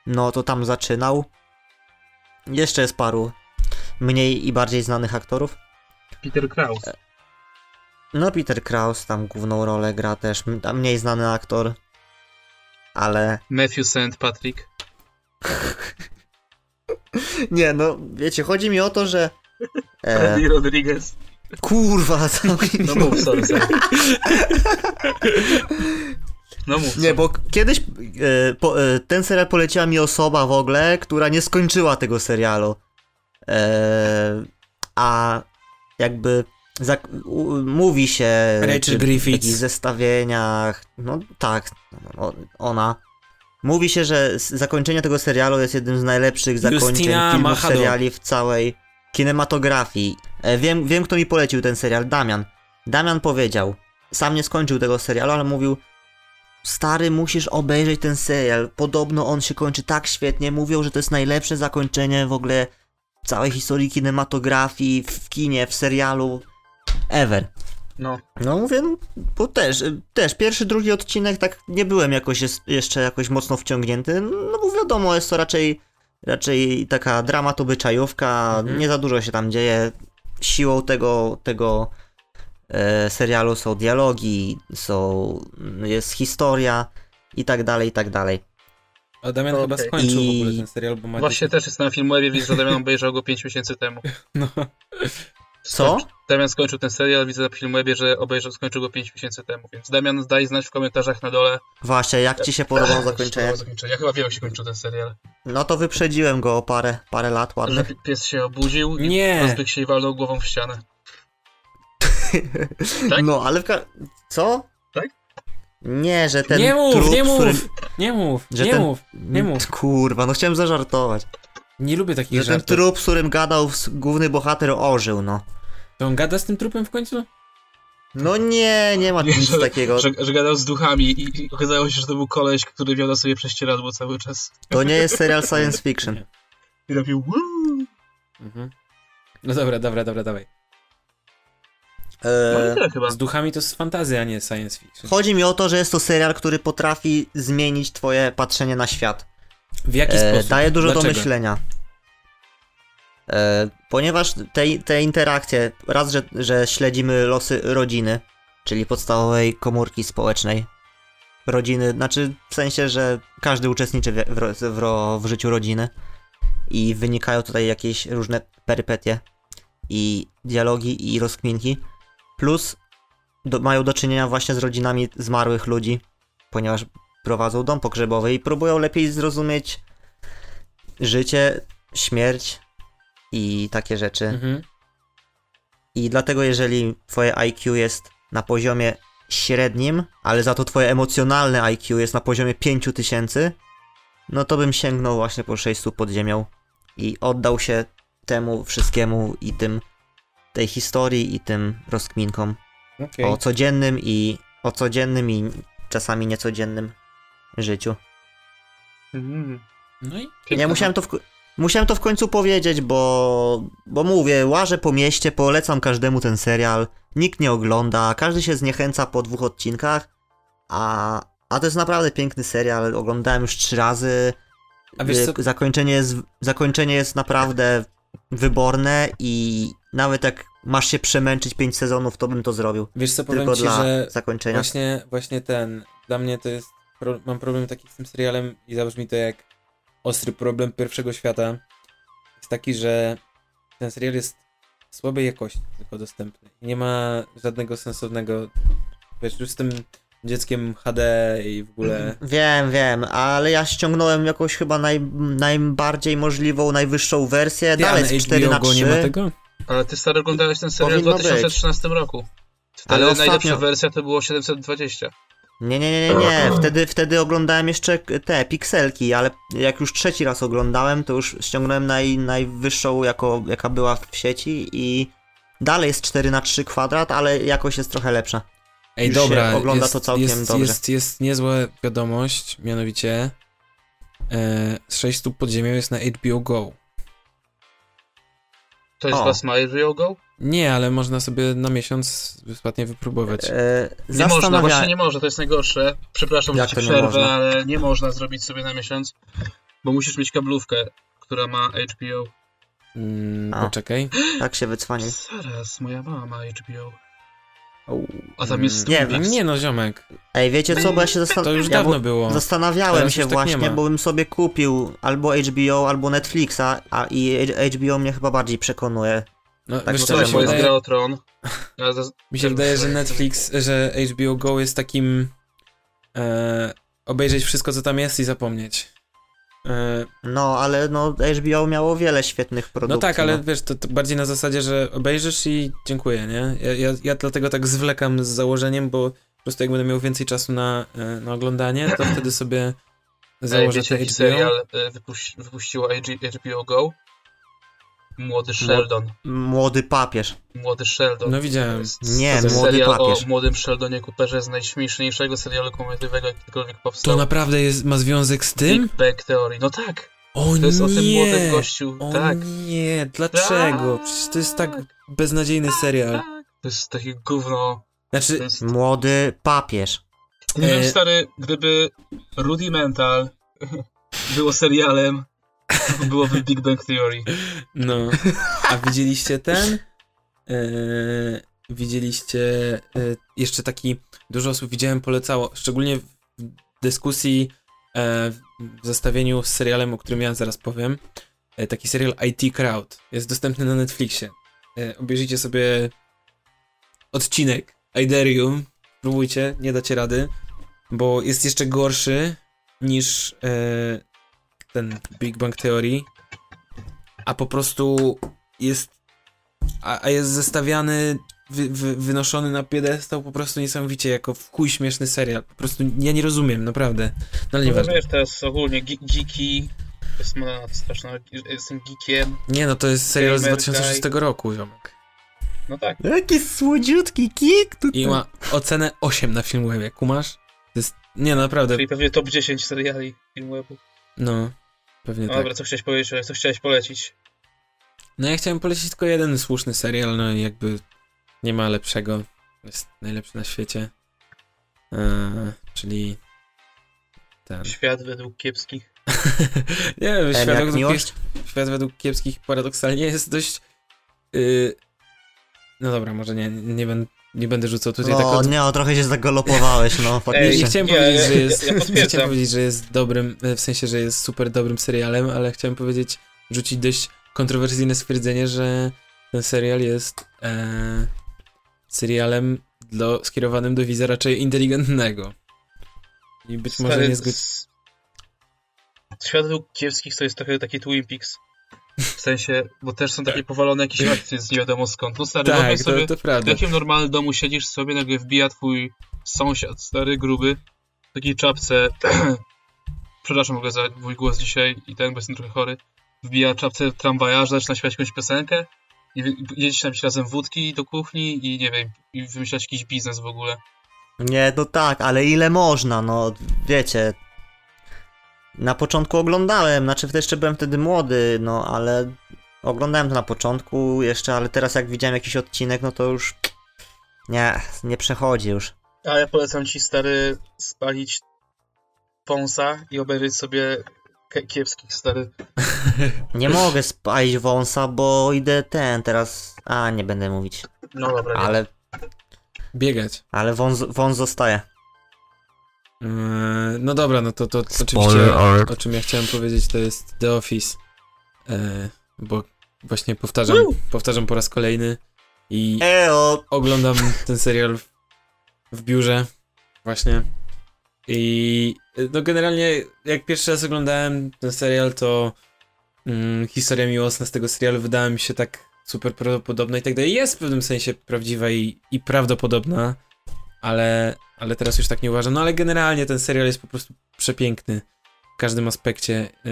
[SPEAKER 3] No to tam zaczynał. Jeszcze jest paru mniej i bardziej znanych aktorów.
[SPEAKER 4] Peter Kraus.
[SPEAKER 3] No, Peter Kraus tam główną rolę gra też, m- tam mniej znany aktor, ale...
[SPEAKER 4] Matthew St. Patrick.
[SPEAKER 3] Nie, no, wiecie, chodzi mi o to, że... E, [laughs]
[SPEAKER 4] Andy Rodriguez.
[SPEAKER 3] kurwa, zamknij
[SPEAKER 4] No mów, sorry, sorry. No mów.
[SPEAKER 3] Nie,
[SPEAKER 4] sorry.
[SPEAKER 3] bo k- kiedyś e, po, e, ten serial poleciła mi osoba w ogóle, która nie skończyła tego serialu. E, a jakby zak- u, mówi się
[SPEAKER 2] Rachel
[SPEAKER 3] czy w
[SPEAKER 2] Griffiths.
[SPEAKER 3] takich zestawieniach, no tak, o, ona. Mówi się, że s- zakończenie tego serialu jest jednym z najlepszych
[SPEAKER 2] Justyna
[SPEAKER 3] zakończeń filmów,
[SPEAKER 2] Machado.
[SPEAKER 3] seriali w całej kinematografii. E, wiem, wiem, kto mi polecił ten serial, Damian. Damian powiedział, sam nie skończył tego serialu, ale mówił, Stary, musisz obejrzeć ten serial. Podobno on się kończy tak świetnie. Mówią, że to jest najlepsze zakończenie w ogóle całej historii kinematografii, w kinie, w serialu. Ever.
[SPEAKER 4] No.
[SPEAKER 3] No mówię, no, bo też, y, też pierwszy, drugi odcinek tak nie byłem jakoś jest, jeszcze jakoś mocno wciągnięty, no bo wiadomo, jest to raczej, raczej taka dramat obyczajówka,
[SPEAKER 4] Mhm.
[SPEAKER 3] nie za dużo się tam dzieje. Siłą tego, tego e, serialu są dialogi, są, jest historia i tak dalej, i tak dalej.
[SPEAKER 2] A Damian
[SPEAKER 4] Okej.
[SPEAKER 2] chyba skończył w ogóle
[SPEAKER 3] I-
[SPEAKER 2] ten serial, bo ma...
[SPEAKER 4] Właśnie też jest na Filmwebie, widzę, że Damian obejrzał go 5 miesięcy temu. [laughs]
[SPEAKER 2] No,
[SPEAKER 3] Co?
[SPEAKER 4] Damian skończył ten serial, widzę na Filmwebie, że obejrzał, skończył go 5 miesięcy temu, więc Damian daj znać w komentarzach na dole.
[SPEAKER 3] Właśnie, jak ci się
[SPEAKER 4] [laughs]
[SPEAKER 3] podobało zakończenie?
[SPEAKER 4] Podobało zakończenie. Ja chyba wiem, jak się kończył ten serial.
[SPEAKER 3] No to wyprzedziłem go o parę, parę lat
[SPEAKER 4] Że
[SPEAKER 3] ładnych.
[SPEAKER 4] pi- pies się obudził i
[SPEAKER 2] nie!
[SPEAKER 4] rozbiegł się i walnął głową w ścianę. tak?
[SPEAKER 3] No, ale w ka- Co?
[SPEAKER 4] Tak?
[SPEAKER 3] Nie, że ten
[SPEAKER 2] nie mów,
[SPEAKER 3] trup,
[SPEAKER 2] nie
[SPEAKER 3] w
[SPEAKER 2] mów,
[SPEAKER 3] którym...
[SPEAKER 2] nie mów,
[SPEAKER 3] że
[SPEAKER 2] nie
[SPEAKER 3] ten-
[SPEAKER 2] mów, nie mów.
[SPEAKER 3] Kurwa, no chciałem zażartować.
[SPEAKER 2] Nie lubię takich
[SPEAKER 3] Że ten
[SPEAKER 2] żartów.
[SPEAKER 3] trup, z którym gadał s- główny bohater, ożył, no.
[SPEAKER 2] To on gada z tym trupem w końcu?
[SPEAKER 3] No nie, nie ma
[SPEAKER 4] Nie,
[SPEAKER 3] nic takiego.
[SPEAKER 4] Że, że gadał z duchami i i okazało się, że to był koleś, który miał na sobie prześcieradło cały czas.
[SPEAKER 3] To nie jest serial science fiction.
[SPEAKER 4] I robił "Woo!"
[SPEAKER 2] Mhm. No dobra, dobra, dobra, dawaj.
[SPEAKER 4] No i
[SPEAKER 3] E,
[SPEAKER 4] tyle chyba.
[SPEAKER 2] Z duchami to jest fantazja, a nie science fiction.
[SPEAKER 3] chodzi mi o to, że jest to serial, który potrafi zmienić twoje patrzenie na świat.
[SPEAKER 2] W jaki
[SPEAKER 3] E,
[SPEAKER 2] sposób?
[SPEAKER 3] daje dużo do
[SPEAKER 2] Dlaczego?
[SPEAKER 3] myślenia. E, ponieważ te, te interakcje, raz, że, że śledzimy losy rodziny, czyli podstawowej komórki społecznej. Rodziny, znaczy w sensie, że każdy uczestniczy w, w, ro- w, ro- w życiu rodziny i wynikają tutaj jakieś różne perypetie i dialogi i rozkminki. Plus do, mają do czynienia właśnie z rodzinami zmarłych ludzi, ponieważ prowadzą dom pogrzebowy i próbują lepiej zrozumieć życie, śmierć i takie rzeczy.
[SPEAKER 2] Mhm.
[SPEAKER 3] I dlatego, jeżeli twoje IQ jest na poziomie średnim, ale za to twoje emocjonalne IQ jest na poziomie 5000, no to bym sięgnął właśnie po 600 pod ziemią i oddał się temu wszystkiemu i tym tej historii i tym rozkminkom
[SPEAKER 2] Okej.
[SPEAKER 3] o codziennym i o codziennym i czasami niecodziennym życiu.
[SPEAKER 4] Mm,
[SPEAKER 2] No i
[SPEAKER 4] piękne.
[SPEAKER 3] Ja musiałem to, w, musiałem to w końcu powiedzieć, bo, bo mówię, łażę po mieście, polecam każdemu ten serial, nikt nie ogląda, każdy się zniechęca po dwóch odcinkach, a, a to jest naprawdę piękny serial, oglądałem już trzy razy,
[SPEAKER 2] A wiesz co-
[SPEAKER 3] Y, zakończenie, jest, zakończenie jest naprawdę wyborne i nawet jak masz się przemęczyć pięć sezonów, to bym to zrobił,
[SPEAKER 2] wiesz co, powiem
[SPEAKER 3] tylko
[SPEAKER 2] ci,
[SPEAKER 3] dla
[SPEAKER 2] że
[SPEAKER 3] zakończenia.
[SPEAKER 2] Właśnie, właśnie ten. Dla mnie to jest. Pro, mam problem taki z tym serialem i zabrzmi to jak ostry problem pierwszego świata. Jest taki, że ten serial jest słabej jakości, tylko dostępny. Nie ma żadnego sensownego. Wiesz, już z tym dzieckiem HD i w
[SPEAKER 3] Mhm.
[SPEAKER 2] ogóle.
[SPEAKER 3] Wiem, wiem, ale ja ściągnąłem jakąś chyba naj, najbardziej możliwą, najwyższą wersję.
[SPEAKER 2] Ty,
[SPEAKER 3] Dalej
[SPEAKER 2] a na
[SPEAKER 3] jest 4 na
[SPEAKER 2] HBO go
[SPEAKER 3] 3
[SPEAKER 2] nie ma tego?
[SPEAKER 4] Ale ty stary oglądałeś ten serial w
[SPEAKER 3] Powinno
[SPEAKER 4] 2013 roku. Wtedy
[SPEAKER 3] Ale ostatnio-
[SPEAKER 4] najlepsza wersja to było 720.
[SPEAKER 3] Nie, nie, nie, nie, nie. Wtedy, wtedy oglądałem jeszcze k- te pikselki, ale jak już trzeci raz oglądałem, to już ściągnąłem naj, najwyższą, jako, jaka była w sieci i dalej jest 4 na 3 kwadrat, ale jakość jest trochę lepsza.
[SPEAKER 2] Ej,
[SPEAKER 3] Już
[SPEAKER 2] dobra.
[SPEAKER 3] się ogląda
[SPEAKER 2] jest,
[SPEAKER 3] to całkiem
[SPEAKER 2] jest,
[SPEAKER 3] dobrze.
[SPEAKER 2] Jest, jest niezła wiadomość, mianowicie e, z 6 stóp pod ziemią jest na HBO Go.
[SPEAKER 4] To jest
[SPEAKER 3] O.
[SPEAKER 4] Was My Real Go?
[SPEAKER 2] Nie, ale można sobie na miesiąc bezpłatnie wypróbować.
[SPEAKER 3] E,
[SPEAKER 4] Nie można, właśnie
[SPEAKER 3] zastanawiałem,
[SPEAKER 4] nie można, to jest najgorsze. Przepraszam,
[SPEAKER 3] Jak
[SPEAKER 4] że
[SPEAKER 3] to
[SPEAKER 4] ci
[SPEAKER 3] nie
[SPEAKER 4] przerwę,
[SPEAKER 3] można?
[SPEAKER 4] ale nie można zrobić sobie na miesiąc, bo musisz mieć kablówkę, która ma HBO.
[SPEAKER 2] Mm,
[SPEAKER 3] A.
[SPEAKER 2] poczekaj.
[SPEAKER 3] tak się wycwanił.
[SPEAKER 4] Zaraz, moja mama ma HBO.
[SPEAKER 3] Au.
[SPEAKER 4] A tam jest
[SPEAKER 3] Hmm. Nie
[SPEAKER 4] Netflix.
[SPEAKER 2] Nie no, ziomek.
[SPEAKER 3] Ej, wiecie co, bo ja się
[SPEAKER 2] To
[SPEAKER 3] zastanawiałem.
[SPEAKER 2] już dawno było.
[SPEAKER 3] Zastanawiałem
[SPEAKER 2] Teraz
[SPEAKER 3] się
[SPEAKER 2] już tak nie
[SPEAKER 3] właśnie,
[SPEAKER 2] ma.
[SPEAKER 3] bo bym sobie kupił albo HBO, albo Netflixa, a i HBO mnie chyba bardziej przekonuje.
[SPEAKER 2] No,
[SPEAKER 3] tak
[SPEAKER 2] wiesz
[SPEAKER 4] No
[SPEAKER 2] co,
[SPEAKER 3] było,
[SPEAKER 2] mi
[SPEAKER 4] to
[SPEAKER 2] się,
[SPEAKER 4] bo jest
[SPEAKER 2] wydaje,
[SPEAKER 4] Gra
[SPEAKER 3] [laughs]
[SPEAKER 4] o Tron. Ja za-
[SPEAKER 2] mi się wydaje, że Netflix, że HBO Go jest takim e, obejrzeć wszystko, co tam jest i zapomnieć. E,
[SPEAKER 3] No, ale no HBO miało wiele świetnych
[SPEAKER 2] no
[SPEAKER 3] produkcji.
[SPEAKER 2] tak, ale wiesz, to, to bardziej na zasadzie, że obejrzysz i dziękuję, nie? Ja, ja, ja dlatego tak zwlekam z założeniem, bo po prostu jak będę miał więcej czasu na, e, na oglądanie, to wtedy sobie
[SPEAKER 4] Ej,
[SPEAKER 2] założę
[SPEAKER 4] wiecie,
[SPEAKER 2] te
[SPEAKER 4] jaki
[SPEAKER 2] HBO.
[SPEAKER 4] serial e, wypuś- wypuściło HBO Go? Młody Sheldon.
[SPEAKER 3] Młody papież.
[SPEAKER 4] Młody Sheldon.
[SPEAKER 2] No widziałem.
[SPEAKER 3] Nie,
[SPEAKER 4] to jest
[SPEAKER 3] Młody
[SPEAKER 4] serial
[SPEAKER 3] Papież.
[SPEAKER 4] o młodym Sheldonie Cooperze z najśmieszniejszego serialu komediowego, jakikolwiek
[SPEAKER 2] To
[SPEAKER 4] powstał.
[SPEAKER 2] naprawdę jest, ma związek z tym?
[SPEAKER 4] Big Bang Theory. No tak,
[SPEAKER 2] O
[SPEAKER 4] to jest
[SPEAKER 2] nie!
[SPEAKER 4] o tym młodym gościu.
[SPEAKER 2] O
[SPEAKER 4] tak,
[SPEAKER 2] nie, dlaczego? Przecież to jest tak beznadziejny serial.
[SPEAKER 4] tak. To jest takie gówno. To
[SPEAKER 2] Znaczy,
[SPEAKER 4] jest...
[SPEAKER 3] Młody papież.
[SPEAKER 4] Nie
[SPEAKER 2] E-
[SPEAKER 4] wiem, stary, gdyby Rudimental [laughs] było serialem, to byłoby Big Bang Theory.
[SPEAKER 2] no. A widzieliście ten? Eee, widzieliście e, jeszcze taki, dużo osób widziałem, polecało, szczególnie w dyskusji e, w zestawieniu z serialem, o którym ja zaraz powiem. E, taki serial IT Crowd jest dostępny na Netflixie. E, obejrzyjcie sobie odcinek I dare you. Próbujcie, nie dacie rady, bo jest jeszcze gorszy niż e, ten Big Bang Theory, a po prostu jest a, a jest zestawiany, wy, wy, wynoszony na piedestał po prostu niesamowicie, jako w chuj śmieszny serial. Po prostu ja nie rozumiem, naprawdę. No ale
[SPEAKER 4] No
[SPEAKER 2] nieważne.
[SPEAKER 4] wiesz, teraz ogólnie ge- geeki, to jest moda straszna, jestem geekiem,
[SPEAKER 2] Nie no, to jest serial z
[SPEAKER 4] Gamer
[SPEAKER 2] 2006 roku, ziomek.
[SPEAKER 4] no tak.
[SPEAKER 3] Jaki słodziutki kik tutaj.
[SPEAKER 2] I ma ocenę 8 na Filmwebie, kumasz? To jest... Nie, no, naprawdę,
[SPEAKER 4] Czyli pewnie top 10 seriali filmu.
[SPEAKER 2] no, pewnie
[SPEAKER 4] No
[SPEAKER 2] tak.
[SPEAKER 4] dobra, co chciałeś powiedzieć, ale co chciałeś polecić?
[SPEAKER 2] No ja chciałem polecić tylko jeden słuszny serial, no i jakby nie ma lepszego. Jest najlepszy na świecie. Eee, czyli... Ten. [laughs]
[SPEAKER 4] Świat według kiepskich.
[SPEAKER 2] Nie wiem,
[SPEAKER 3] M
[SPEAKER 2] świat
[SPEAKER 3] no jak
[SPEAKER 2] według,
[SPEAKER 3] miłość?
[SPEAKER 2] kiep... świat według kiepskich paradoksalnie jest dość... Yy... No dobra, może nie, nie, będę, nie będę rzucał tutaj tak
[SPEAKER 3] O
[SPEAKER 2] od...
[SPEAKER 3] No, nie, o, trochę się zagalopowałeś, no
[SPEAKER 2] Nie,
[SPEAKER 4] Ej,
[SPEAKER 2] nie
[SPEAKER 3] faktycznie.
[SPEAKER 2] chciałem
[SPEAKER 4] nie,
[SPEAKER 2] powiedzieć,
[SPEAKER 4] ja-
[SPEAKER 2] że
[SPEAKER 4] ja-
[SPEAKER 2] jest.
[SPEAKER 4] [laughs]
[SPEAKER 2] [laughs]
[SPEAKER 4] ja
[SPEAKER 2] nie
[SPEAKER 4] potwierdzam.
[SPEAKER 2] chciałem powiedzieć, że jest dobrym, e, w sensie, że jest super dobrym serialem, ale chciałem powiedzieć, rzucić dość kontrowersyjne stwierdzenie, że ten serial jest e, serialem dla, skierowanym do widza raczej inteligentnego. I być może nie zgod...
[SPEAKER 4] z- Świat według kiepskich to jest trochę taki Twin Peaks. W sensie, bo też są takie powalone jakieś akcje z nie wiadomo skąd. No stary,
[SPEAKER 2] Tak,
[SPEAKER 4] wyobraź
[SPEAKER 2] to,
[SPEAKER 4] sobie,
[SPEAKER 2] to
[SPEAKER 4] w
[SPEAKER 2] prawda.
[SPEAKER 4] jakim normalnym domu siedzisz sobie, nagle wbija twój sąsiad, stary, gruby, w takiej czapce, [clears throat] przepraszam mogę za mój głos dzisiaj i ten, bo jestem trochę chory, wbija czapce tramwajarza, zaczyna śpiewać jakąś piosenkę i wy- idziecie napić razem wódki do kuchni i nie wiem, i wymyślać jakiś biznes w ogóle.
[SPEAKER 3] Nie, no tak, ale ile można, no wiecie. Na początku oglądałem, znaczy wtedy jeszcze byłem wtedy młody, no ale oglądałem to na początku jeszcze, ale teraz jak widziałem jakiś odcinek, no to już nie, nie przechodzi już.
[SPEAKER 4] A ja polecam ci, stary, spalić wąsa i obejrzeć sobie ke- kiepskich, stary.
[SPEAKER 3] Nie mogę spalić wąsa, bo idę ten teraz, a nie będę mówić,
[SPEAKER 4] No dobra, nie.
[SPEAKER 3] ale,
[SPEAKER 2] [laughs] Biegać.
[SPEAKER 3] ale wąs, wąs zostaje.
[SPEAKER 2] Yy, no dobra, no to, to oczywiście o czym ja chciałem powiedzieć, to jest The Office. E, bo właśnie powtarzam, powtarzam po raz kolejny i
[SPEAKER 3] Eo,
[SPEAKER 2] oglądam ten serial w, w biurze właśnie i y, no generalnie jak pierwszy raz oglądałem ten serial to mm, historia miłosna z tego serialu wydała mi się tak super prawdopodobna i tak dalej. Jest w pewnym sensie prawdziwa i, i prawdopodobna, ale, ale teraz już tak nie uważam. No ale generalnie ten serial jest po prostu przepiękny w każdym aspekcie. Yy,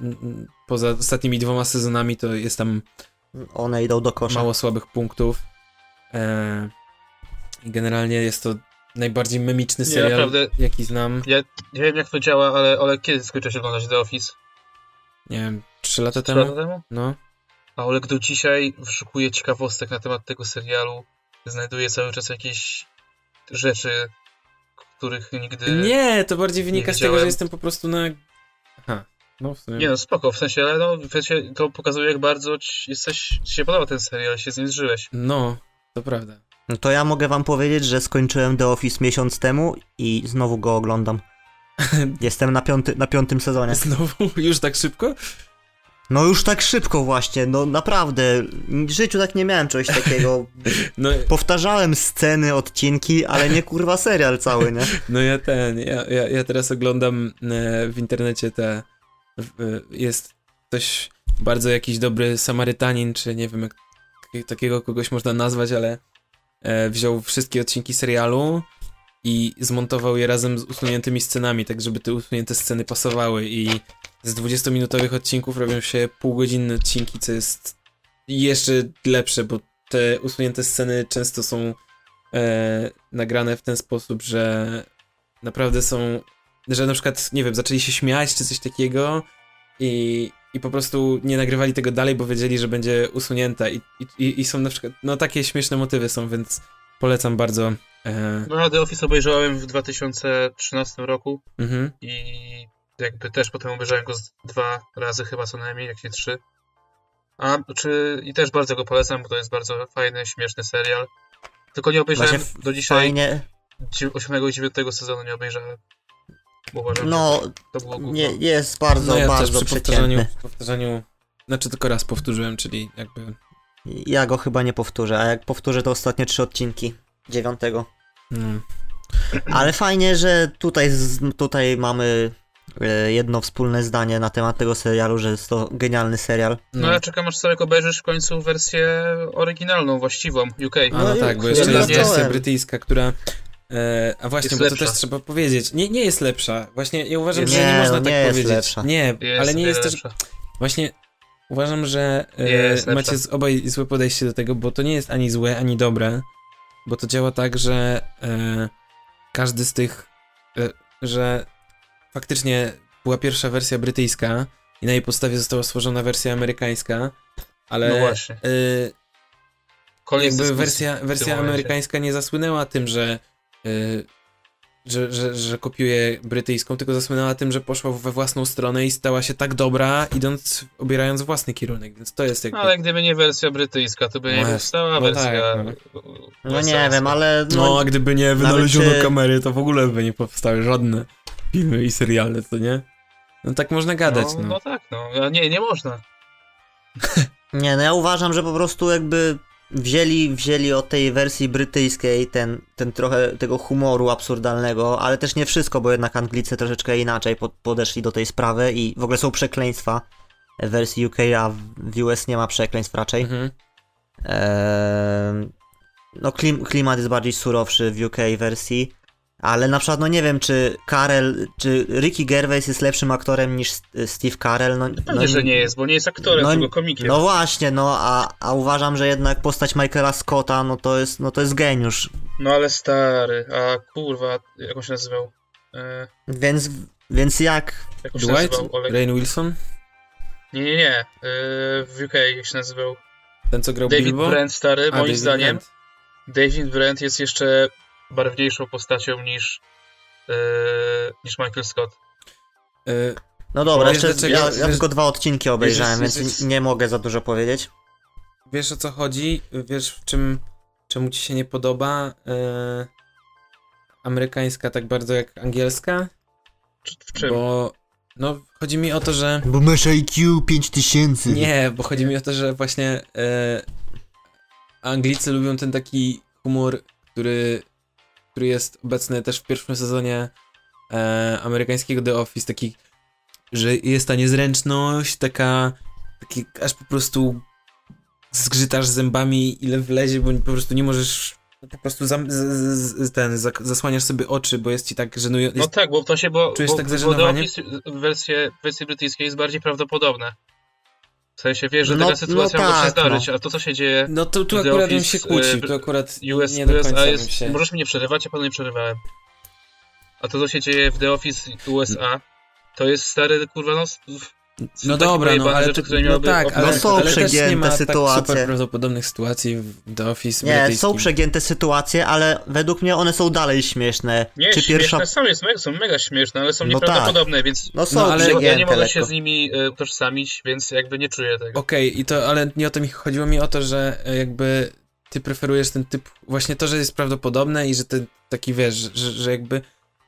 [SPEAKER 2] n- n- poza ostatnimi dwoma sezonami to jest tam
[SPEAKER 3] one idą do kosza.
[SPEAKER 2] mało słabych punktów. E, i generalnie jest to najbardziej memiczny
[SPEAKER 4] Nie,
[SPEAKER 2] serial,
[SPEAKER 4] naprawdę.
[SPEAKER 2] jaki znam.
[SPEAKER 4] Ja nie wiem jak to działa, ale, ale kiedy skończyłeś oglądać The Office?
[SPEAKER 2] Nie wiem, 3 lata
[SPEAKER 4] Trzy
[SPEAKER 2] temu?
[SPEAKER 4] lata temu?
[SPEAKER 2] No.
[SPEAKER 4] A Olek do dzisiaj wyszukuje ciekawostek na temat tego serialu. Znajduje cały czas jakieś rzeczy, których nigdy...
[SPEAKER 2] E, Nie, to bardziej wynika z tego, że
[SPEAKER 4] widziałem.
[SPEAKER 2] jestem po prostu na... Aha, no w sumie.
[SPEAKER 4] Nie no, spoko, w sensie, ale no, wiecie, to pokazuje jak bardzo ci, jesteś, ci się podoba ten serial, się z nim zżyłeś.
[SPEAKER 2] No, to prawda.
[SPEAKER 3] No to ja mogę wam powiedzieć, że skończyłem The Office miesiąc temu i znowu go
[SPEAKER 4] [laughs]
[SPEAKER 3] oglądam. Jestem na, piąty, na piątym sezonie.
[SPEAKER 2] Znowu? Już tak szybko?
[SPEAKER 3] No już tak szybko właśnie, no naprawdę. W życiu tak nie miałem czegoś
[SPEAKER 4] [laughs]
[SPEAKER 3] takiego.
[SPEAKER 2] No,
[SPEAKER 3] Powtarzałem sceny, odcinki, ale nie kurwa serial cały, nie?
[SPEAKER 2] no ja ten, ja, ja, ja teraz oglądam e, w internecie te... w- e, Jest ktoś bardzo jakiś dobry Samarytanin, czy nie wiem jak takiego kogoś można nazwać, ale e, wziął wszystkie odcinki serialu i zmontował je razem z usuniętymi scenami, tak żeby te usunięte sceny pasowały i z 20-minutowych odcinków robią się półgodzinne odcinki, co jest jeszcze lepsze, bo te usunięte sceny często są e, nagrane w ten sposób, że naprawdę są, że na przykład, nie wiem, zaczęli się śmiać czy coś takiego i, i po prostu nie nagrywali tego dalej, bo wiedzieli, że będzie usunięta i, i, i są na przykład, no takie śmieszne motywy są, więc polecam bardzo. E,
[SPEAKER 4] No, The Office obejrzałem w 2013 roku
[SPEAKER 2] mhm.
[SPEAKER 4] i jakby też potem obejrzałem go z dwa razy chyba co najmniej, jak nie trzy. A, czy, I też bardzo go polecam, bo to jest bardzo fajny, śmieszny serial. Tylko nie obejrzałem
[SPEAKER 3] Właśnie
[SPEAKER 4] do dzisiaj
[SPEAKER 3] Fajnie.
[SPEAKER 4] 8 i 9 sezonu nie obejrzałem. Bo uważam,
[SPEAKER 3] No,
[SPEAKER 4] że to było gówno.
[SPEAKER 3] nie, jest bardzo,
[SPEAKER 2] no ja
[SPEAKER 3] bardzo
[SPEAKER 2] też przy powtarzaniu,
[SPEAKER 3] przeciętny.
[SPEAKER 2] powtarzaniu, znaczy tylko raz powtórzyłem, czyli jakby,
[SPEAKER 3] Ja go chyba nie powtórzę, a jak powtórzę to ostatnie trzy odcinki dziewiątego.
[SPEAKER 2] no.
[SPEAKER 3] Ale fajnie, że tutaj, z- tutaj mamy e, jedno wspólne zdanie na temat tego serialu, że jest to genialny serial.
[SPEAKER 4] No ja czekam aż Sorek obejrzysz w końcu wersję oryginalną, właściwą, UK.
[SPEAKER 2] A no
[SPEAKER 3] No i
[SPEAKER 2] tak, bo
[SPEAKER 3] ja
[SPEAKER 2] jeszcze jest
[SPEAKER 4] zacząłem.
[SPEAKER 2] wersja brytyjska, która. E, a właśnie,
[SPEAKER 4] Jest
[SPEAKER 2] bo to
[SPEAKER 4] lepsza.
[SPEAKER 2] też trzeba powiedzieć. Nie, nie jest lepsza. Właśnie ja uważam,
[SPEAKER 3] Jest-
[SPEAKER 2] że nie
[SPEAKER 3] Nie,
[SPEAKER 2] można
[SPEAKER 3] no
[SPEAKER 2] tak
[SPEAKER 3] nie jest
[SPEAKER 2] powiedzieć.
[SPEAKER 3] lepsza.
[SPEAKER 2] Nie,
[SPEAKER 4] Jest
[SPEAKER 2] ale nie
[SPEAKER 4] wiele
[SPEAKER 2] jest też.
[SPEAKER 4] lepsza.
[SPEAKER 2] Właśnie uważam, że
[SPEAKER 4] Jest
[SPEAKER 2] e,
[SPEAKER 4] lepsza.
[SPEAKER 2] macie z- obaj złe podejście do tego, bo to nie jest ani złe, ani dobre. Bo to działa tak, że e, każdy z tych. E, że faktycznie była pierwsza wersja brytyjska i na jej podstawie została stworzona wersja amerykańska, ale.
[SPEAKER 4] No właśnie.
[SPEAKER 2] e,
[SPEAKER 4] Koniec
[SPEAKER 2] jakby
[SPEAKER 4] dyskusji.
[SPEAKER 2] wersja, wersja
[SPEAKER 4] momencie.
[SPEAKER 2] amerykańska nie zasłynęła tym, że, y, że, że, że kopiuje brytyjską, tylko zasłynęła tym, że poszła we własną stronę i stała się tak dobra, idąc, obierając własny kierunek, więc to jest jakby...
[SPEAKER 4] Ale gdyby nie wersja brytyjska, to by nie
[SPEAKER 2] No
[SPEAKER 4] powstała
[SPEAKER 2] no
[SPEAKER 4] wersja.
[SPEAKER 2] tak,
[SPEAKER 3] No nie wiem, ale
[SPEAKER 2] No,
[SPEAKER 3] no,
[SPEAKER 2] a gdyby nie
[SPEAKER 3] nawet
[SPEAKER 2] wynaleziono
[SPEAKER 3] czy-
[SPEAKER 2] kamery, to w ogóle by nie powstały żadne filmy i seriale, co nie? No tak można gadać,
[SPEAKER 4] no,
[SPEAKER 2] no.
[SPEAKER 4] no tak, no. A nie, nie można.
[SPEAKER 3] nie, no ja uważam, że po prostu jakby wzięli, wzięli od tej wersji brytyjskiej ten, ten trochę tego humoru absurdalnego, ale też nie wszystko, bo jednak Anglicy troszeczkę inaczej pod, podeszli do tej sprawy i w ogóle są przekleństwa w wersji UK, a w- w US nie ma przekleństw raczej.
[SPEAKER 2] Mhm.
[SPEAKER 3] Em, No klim, klimat jest bardziej surowszy w UK wersji, ale na przykład no nie wiem czy Karel, czy Ricky Gervais jest lepszym aktorem niż S- Steve Carell, no,
[SPEAKER 4] Pewnie,
[SPEAKER 3] no
[SPEAKER 4] że nie jest, bo nie jest aktorem,
[SPEAKER 3] no-
[SPEAKER 4] tylko komikiem.
[SPEAKER 3] No właśnie, no a, a uważam, że jednak postać Michaela Scotta, no to jest, no to jest geniusz.
[SPEAKER 4] No ale stary, a kurwa, jak on się nazywał? E,
[SPEAKER 3] Więc, więc jak?
[SPEAKER 4] jak on się
[SPEAKER 2] Dwight?
[SPEAKER 4] nazywał? Olek?
[SPEAKER 2] Rain Wilson?
[SPEAKER 4] Nie, nie, nie. E, w UK jak się nazywał?
[SPEAKER 2] Ten, co grał
[SPEAKER 4] David
[SPEAKER 2] Bilbo?
[SPEAKER 4] Brent, stary,
[SPEAKER 2] A,
[SPEAKER 4] moim
[SPEAKER 2] David
[SPEAKER 4] zdaniem.
[SPEAKER 2] Brent.
[SPEAKER 4] David Brent jest jeszcze barwniejszą postacią niż, e, niż Michael Scott.
[SPEAKER 2] Y,
[SPEAKER 3] No dobra,
[SPEAKER 2] No,
[SPEAKER 3] jeszcze
[SPEAKER 2] wiesz, dlaczego-
[SPEAKER 3] ja, ja
[SPEAKER 2] wiesz-
[SPEAKER 3] tylko dwa odcinki obejrzałem,
[SPEAKER 2] wiesz,
[SPEAKER 3] więc
[SPEAKER 2] wiesz-
[SPEAKER 3] nie mogę za dużo powiedzieć.
[SPEAKER 2] wiesz o co chodzi, wiesz w czym, czemu ci się nie podoba e, amerykańska tak bardzo jak angielska,
[SPEAKER 4] Czy, w czym?
[SPEAKER 2] bo no chodzi mi o to, że
[SPEAKER 3] Bo masz IQ 5000.
[SPEAKER 2] nie, bo chodzi mi o to, że właśnie e, Anglicy lubią ten taki humor, który, który jest obecny też w pierwszym sezonie e, amerykańskiego The Office, taki, że jest ta niezręczność, taka, taki aż po prostu zgrzytasz zębami ile wlezie, bo po prostu nie możesz po prostu zam, z, z, z, ten, zak- zasłaniasz sobie oczy, bo jest ci tak żenujące.
[SPEAKER 4] No tak, bo to się, bo,
[SPEAKER 2] Czujesz
[SPEAKER 4] bo,
[SPEAKER 2] tak
[SPEAKER 4] bo The
[SPEAKER 2] zażenowanie?
[SPEAKER 4] Office w wersji, w wersji brytyjskiej jest bardziej prawdopodobne. W sensie wiesz, że
[SPEAKER 3] No-
[SPEAKER 4] taka sytuacja
[SPEAKER 3] no
[SPEAKER 4] może się
[SPEAKER 3] tak,
[SPEAKER 4] zdarzyć,
[SPEAKER 3] no.
[SPEAKER 4] a to co się dzieje
[SPEAKER 2] No to tu
[SPEAKER 4] The
[SPEAKER 2] akurat bym
[SPEAKER 4] Office,
[SPEAKER 2] się kłócił,
[SPEAKER 4] e,
[SPEAKER 2] tu akurat
[SPEAKER 4] US,
[SPEAKER 2] nie do końca
[SPEAKER 4] USA
[SPEAKER 2] bym
[SPEAKER 4] jest...
[SPEAKER 2] się...
[SPEAKER 4] Możesz mnie przerywać, ja panu nie przerywałem. A to co się dzieje w The Office USA, to jest stary kurwa no... s- są
[SPEAKER 2] No
[SPEAKER 4] takie
[SPEAKER 2] dobra, no
[SPEAKER 4] pojebane
[SPEAKER 2] ale
[SPEAKER 4] rzeczy,
[SPEAKER 2] to,
[SPEAKER 4] które
[SPEAKER 2] no
[SPEAKER 4] miałyby
[SPEAKER 2] tak,
[SPEAKER 4] okno-
[SPEAKER 2] ale,
[SPEAKER 3] No są
[SPEAKER 2] ale też nie
[SPEAKER 3] przegięte
[SPEAKER 2] ma tak
[SPEAKER 3] sytuacje.
[SPEAKER 2] super prawdopodobnych sytuacji w The Office
[SPEAKER 3] Nie,
[SPEAKER 2] brytyjskim.
[SPEAKER 3] są przegięte sytuacje, ale według mnie one są dalej śmieszne.
[SPEAKER 4] Nie,
[SPEAKER 3] Czy
[SPEAKER 4] śmieszne
[SPEAKER 3] pierwsza.
[SPEAKER 4] są, jest, me- są mega śmieszne, ale są
[SPEAKER 3] No
[SPEAKER 4] nieprawdopodobne, więc
[SPEAKER 3] No są
[SPEAKER 2] No, ale ja
[SPEAKER 4] ja,
[SPEAKER 3] przegięte.
[SPEAKER 4] ja nie mogę się
[SPEAKER 3] lekko.
[SPEAKER 4] z nimi e, utożsamić, więc jakby nie czuję tego.
[SPEAKER 2] Okej, i to, ale nie o to mi chodziło mi o to, że e, jakby ty preferujesz ten typ, właśnie to, że jest prawdopodobne i że ty taki wiesz, że, że jakby,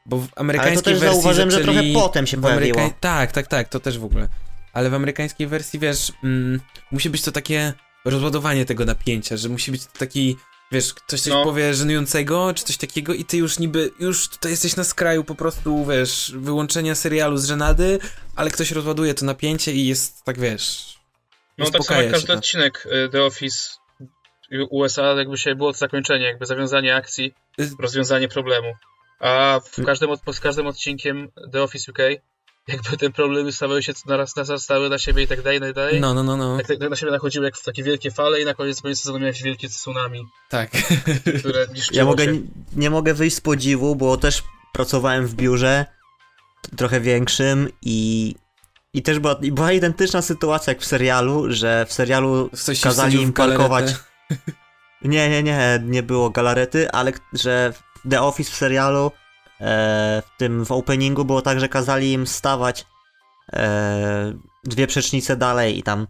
[SPEAKER 2] bo w
[SPEAKER 3] Ale
[SPEAKER 2] amerykańskiej
[SPEAKER 3] to też
[SPEAKER 2] wersji
[SPEAKER 3] zauważyłem, że
[SPEAKER 2] zaczęli...
[SPEAKER 3] trochę potem się
[SPEAKER 2] W Ameryka...
[SPEAKER 3] pojawiło.
[SPEAKER 2] Tak, tak, tak, to też w ogóle. Ale w amerykańskiej wersji, wiesz, mm, musi być to takie rozładowanie tego napięcia, że musi być to taki, wiesz, ktoś coś
[SPEAKER 4] No.
[SPEAKER 2] powie żenującego, czy coś takiego i ty już niby, już tutaj jesteś na skraju po prostu, wiesz, wyłączenia serialu z żenady, ale ktoś rozładuje to napięcie i jest, tak wiesz,
[SPEAKER 4] No tak samo
[SPEAKER 2] uspokaja
[SPEAKER 4] jak
[SPEAKER 2] się
[SPEAKER 4] każdy
[SPEAKER 2] to.
[SPEAKER 4] odcinek e, The Office y, USA, jakby się było to zakończenie, jakby zawiązanie akcji,
[SPEAKER 2] Y-
[SPEAKER 3] Y-
[SPEAKER 4] rozwiązanie problemu. A w każdym, od- z każdym odcinkiem The Office UK jakby te problemy stawały się naraz narastały na siebie i tak dalej, i tak dalej.
[SPEAKER 2] No, no, no, no.
[SPEAKER 4] Tak, tak, na siebie nachodziły jak w takie wielkie fale i na koniec koniec sezonu miałeś wielkie tsunami,
[SPEAKER 2] Tak. [laughs]
[SPEAKER 4] które niszczyło
[SPEAKER 3] Ja mogę,
[SPEAKER 4] się.
[SPEAKER 3] nie mogę wyjść z podziwu, bo też pracowałem w biurze trochę większym i, i też była, i była identyczna sytuacja jak w serialu, że w serialu
[SPEAKER 2] Coś się
[SPEAKER 3] kazali
[SPEAKER 2] wsadził
[SPEAKER 3] im
[SPEAKER 2] w galaretę.
[SPEAKER 3] parkować. Nie, nie, nie, nie było galarety, ale k- że w The Office w serialu, e, w tym w openingu było tak, że kazali im stawać e, dwie przecznice dalej i tam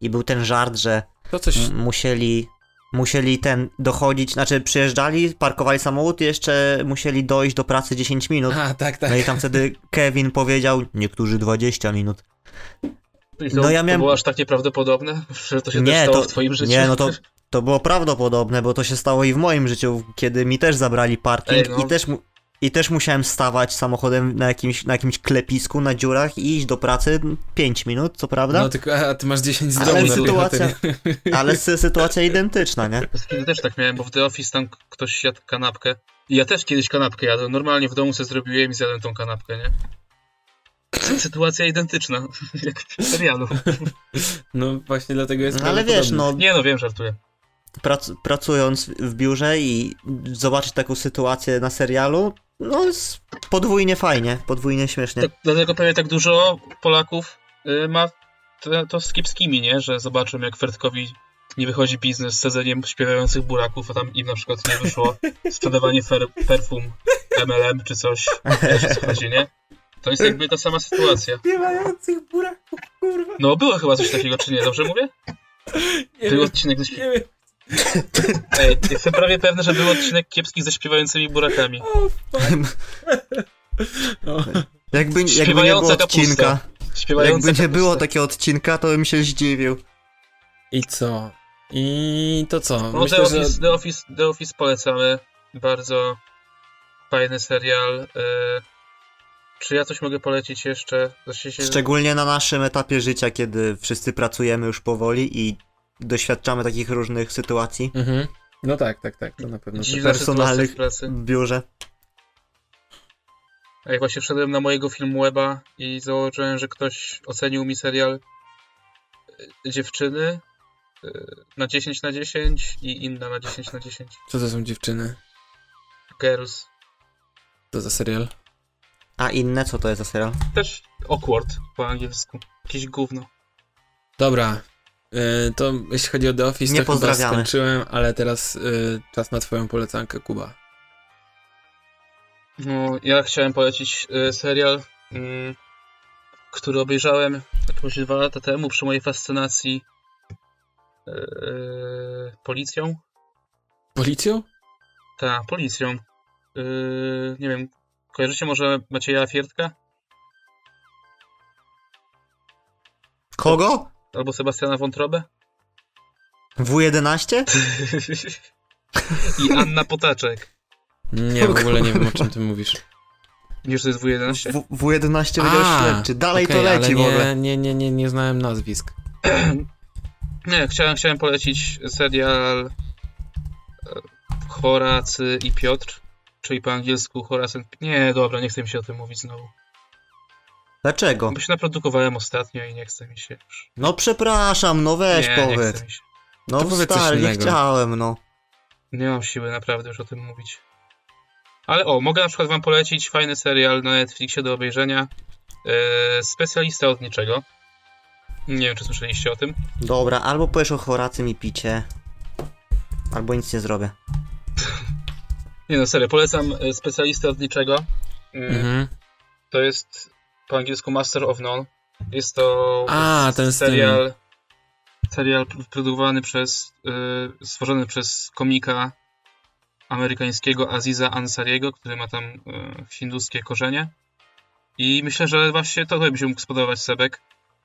[SPEAKER 3] i był ten żart, że
[SPEAKER 2] To coś...
[SPEAKER 3] m- musieli musieli ten dochodzić, znaczy przyjeżdżali, parkowali samochód i jeszcze musieli dojść do pracy 10 minut.
[SPEAKER 2] A, tak,
[SPEAKER 3] No
[SPEAKER 2] tak.
[SPEAKER 3] i tam wtedy Kevin powiedział, niektórzy 20 minut.
[SPEAKER 4] I to,
[SPEAKER 3] no ja
[SPEAKER 4] to
[SPEAKER 3] miałem-
[SPEAKER 4] było aż takie prawdopodobne, [laughs] że to się
[SPEAKER 3] Nie,
[SPEAKER 4] też stało
[SPEAKER 3] to-
[SPEAKER 4] w twoim życiu.
[SPEAKER 3] Nie, no
[SPEAKER 4] [laughs]
[SPEAKER 3] to, to było prawdopodobne, bo to się stało i w moim życiu, kiedy mi też zabrali parking
[SPEAKER 4] Ej, no.
[SPEAKER 3] i, też mu, i też musiałem stawać samochodem na jakimś, na jakimś klepisku na dziurach i iść do pracy 5 minut, co prawda,
[SPEAKER 2] No, tylko, a, ty masz 10 z
[SPEAKER 3] Ale
[SPEAKER 2] domu na
[SPEAKER 3] sytuacja-
[SPEAKER 2] piechotę.
[SPEAKER 3] ale sy- sytuacja identyczna, nie?
[SPEAKER 4] Kiedy też tak miałem, bo w The Office tam k- ktoś jadł kanapkę. I ja też kiedyś kanapkę jadłem. Normalnie w domu sobie zrobiłem i zjadłem tą kanapkę, nie? Sytuacja identyczna, [laughs] jak w serialu.
[SPEAKER 2] [laughs] No, właśnie dlatego jest
[SPEAKER 3] No, ale wiesz, no,
[SPEAKER 4] Nie no, wiem, żartuję.
[SPEAKER 3] prac, pracując w biurze i zobaczyć taką sytuację na serialu, no jest podwójnie fajnie, podwójnie śmiesznie.
[SPEAKER 4] Tak, dlatego pewnie tak dużo Polaków y, ma to, to z kiepskimi, nie? Że zobaczą jak Fertkowi nie wychodzi biznes z sedzeniem śpiewających buraków, a tam im na przykład nie wyszło sprzedawanie fer, perfum MLM czy coś. Wiesz o co chodzi, nie? To jest jakby ta sama sytuacja.
[SPEAKER 5] Śpiewających buraków, kurwa.
[SPEAKER 4] No było chyba coś takiego, czy nie? Dobrze mówię?
[SPEAKER 5] Nie
[SPEAKER 4] Był
[SPEAKER 5] wiem,
[SPEAKER 4] odcinek ze śpi-
[SPEAKER 5] nie wiem.
[SPEAKER 4] Ej, jestem prawie pewny, że był odcinek kiepski ze śpiewającymi burakami.
[SPEAKER 5] O, fuck.
[SPEAKER 3] [laughs]
[SPEAKER 5] No.
[SPEAKER 3] Jakby, jakby nie było
[SPEAKER 4] Śpiewająca kapusta.
[SPEAKER 3] odcinka,
[SPEAKER 4] Śpiewający
[SPEAKER 3] jakby nie było takiego odcinka, to bym się zdziwił.
[SPEAKER 2] I co? I to co?
[SPEAKER 4] No, The,
[SPEAKER 2] Myślę, że...
[SPEAKER 4] Office, The, Office, The Office polecamy. Bardzo fajny serial. Y, Czy ja coś mogę polecić jeszcze? Znaczy się...
[SPEAKER 3] Szczególnie na naszym etapie życia, kiedy wszyscy pracujemy już powoli i doświadczamy takich różnych sytuacji
[SPEAKER 2] Mhm. No tak, tak, tak, to na pewno.
[SPEAKER 4] Dziwna
[SPEAKER 3] personalnych-
[SPEAKER 4] sytuacja w pracy.
[SPEAKER 3] w biurze.
[SPEAKER 4] Ej, właśnie wszedłem na mojego film weba i założyłem, że ktoś ocenił mi serial y, Dziewczyny y, na 10 na 10 i inna na 10 na 10.
[SPEAKER 2] Co to są dziewczyny?
[SPEAKER 4] Girls.
[SPEAKER 2] To za serial?
[SPEAKER 3] A inne, co to jest za serial?
[SPEAKER 4] Też awkward po angielsku. Jakieś gówno.
[SPEAKER 2] Dobra. E, To jeśli chodzi o The Office,
[SPEAKER 3] Nie
[SPEAKER 2] to chyba
[SPEAKER 3] pozdrawiamy.
[SPEAKER 2] skończyłem, ale teraz e, czas na twoją polecankę, Kuba.
[SPEAKER 4] No, ja chciałem polecić y, serial, y, który obejrzałem jakoś dwa lata temu przy mojej fascynacji y, y, policją.
[SPEAKER 2] Policją?
[SPEAKER 4] Ta, policją. Y, nie wiem, kojarzycie może Macieja Fiertka?
[SPEAKER 3] Kogo?
[SPEAKER 4] Albo Sebastiana Wątrobę?
[SPEAKER 3] W11?
[SPEAKER 4] [laughs] I Anna Potaczek.
[SPEAKER 2] Nie,
[SPEAKER 3] O
[SPEAKER 2] w ogóle nie wiem o
[SPEAKER 3] kurwa.
[SPEAKER 2] czym ty mówisz.
[SPEAKER 3] [laughs]
[SPEAKER 4] Wiesz, to jest W11?
[SPEAKER 3] W, W11 Wydział
[SPEAKER 2] A,
[SPEAKER 3] Śledczy. Dalej to
[SPEAKER 2] Okej, ale
[SPEAKER 3] leci w
[SPEAKER 2] nie,
[SPEAKER 3] ogóle.
[SPEAKER 2] Nie, nie, nie, nie znałem nazwisk.
[SPEAKER 4] Nie, chciałem, chciałem polecić serial e, Horacy i Piotr, czyli po angielsku Horacy... Nie, dobra, nie chce mi się o tym mówić znowu.
[SPEAKER 3] Dlaczego?
[SPEAKER 4] Bo się naprodukowałem ostatnio i nie chce mi się już.
[SPEAKER 3] No przepraszam, no weź
[SPEAKER 4] nie, nie
[SPEAKER 3] powiedz.
[SPEAKER 4] chce mi się.
[SPEAKER 2] To
[SPEAKER 3] no
[SPEAKER 2] powiedz coś
[SPEAKER 3] stary, nie
[SPEAKER 2] innego.
[SPEAKER 3] chciałem, no.
[SPEAKER 4] Nie mam siły naprawdę już o tym mówić. Ale o, mogę na przykład wam polecić fajny serial na Netflixie do obejrzenia. E, specjalista od niczego. Nie wiem, czy słyszeliście o tym.
[SPEAKER 3] Dobra, albo powiesz o choracy mi picie, albo nic nie zrobię.
[SPEAKER 4] Nie no, serio, polecam e, specjalistę od niczego. Mm,
[SPEAKER 2] Mhm.
[SPEAKER 4] To jest po angielsku Master of None. Jest to
[SPEAKER 2] A, ten z tym.
[SPEAKER 4] serial, serial pr- produkowany przez, y, stworzony przez komika amerykańskiego Aziza Ansariego, który ma tam y, hinduskie korzenie. I myślę, że właśnie to by się mógł spodobać Sebek,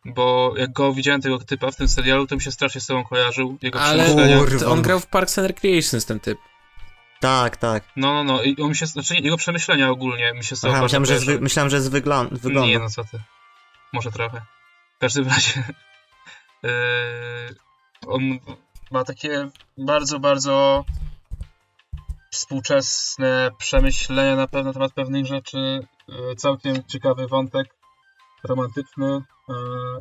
[SPEAKER 4] bo jak go widziałem tego typa w tym serialu, to mi się strasznie z tobą kojarzył. Jego
[SPEAKER 2] Ale
[SPEAKER 4] przemyślenia.
[SPEAKER 3] Kurwa.
[SPEAKER 2] Znaczy, no,
[SPEAKER 3] no.
[SPEAKER 2] on grał w Parks and Recreations, ten typ. No
[SPEAKER 3] Tak, tak.
[SPEAKER 4] No, no, no. I on mi się, znaczy jego przemyślenia ogólnie mi się z tobą
[SPEAKER 3] Aha,
[SPEAKER 4] bardzo
[SPEAKER 3] myślałem, że z,
[SPEAKER 4] kojarzyły.
[SPEAKER 3] wy- myślałem, że z wyglą-
[SPEAKER 4] Nie,
[SPEAKER 3] wyglądu.
[SPEAKER 4] no co ty. Może trochę. W każdym razie. [laughs] Yy, on ma takie bardzo, bardzo współczesne przemyślenia na, pe- na temat pewnych rzeczy. Yy, całkiem ciekawy E, wątek. romantyczny e,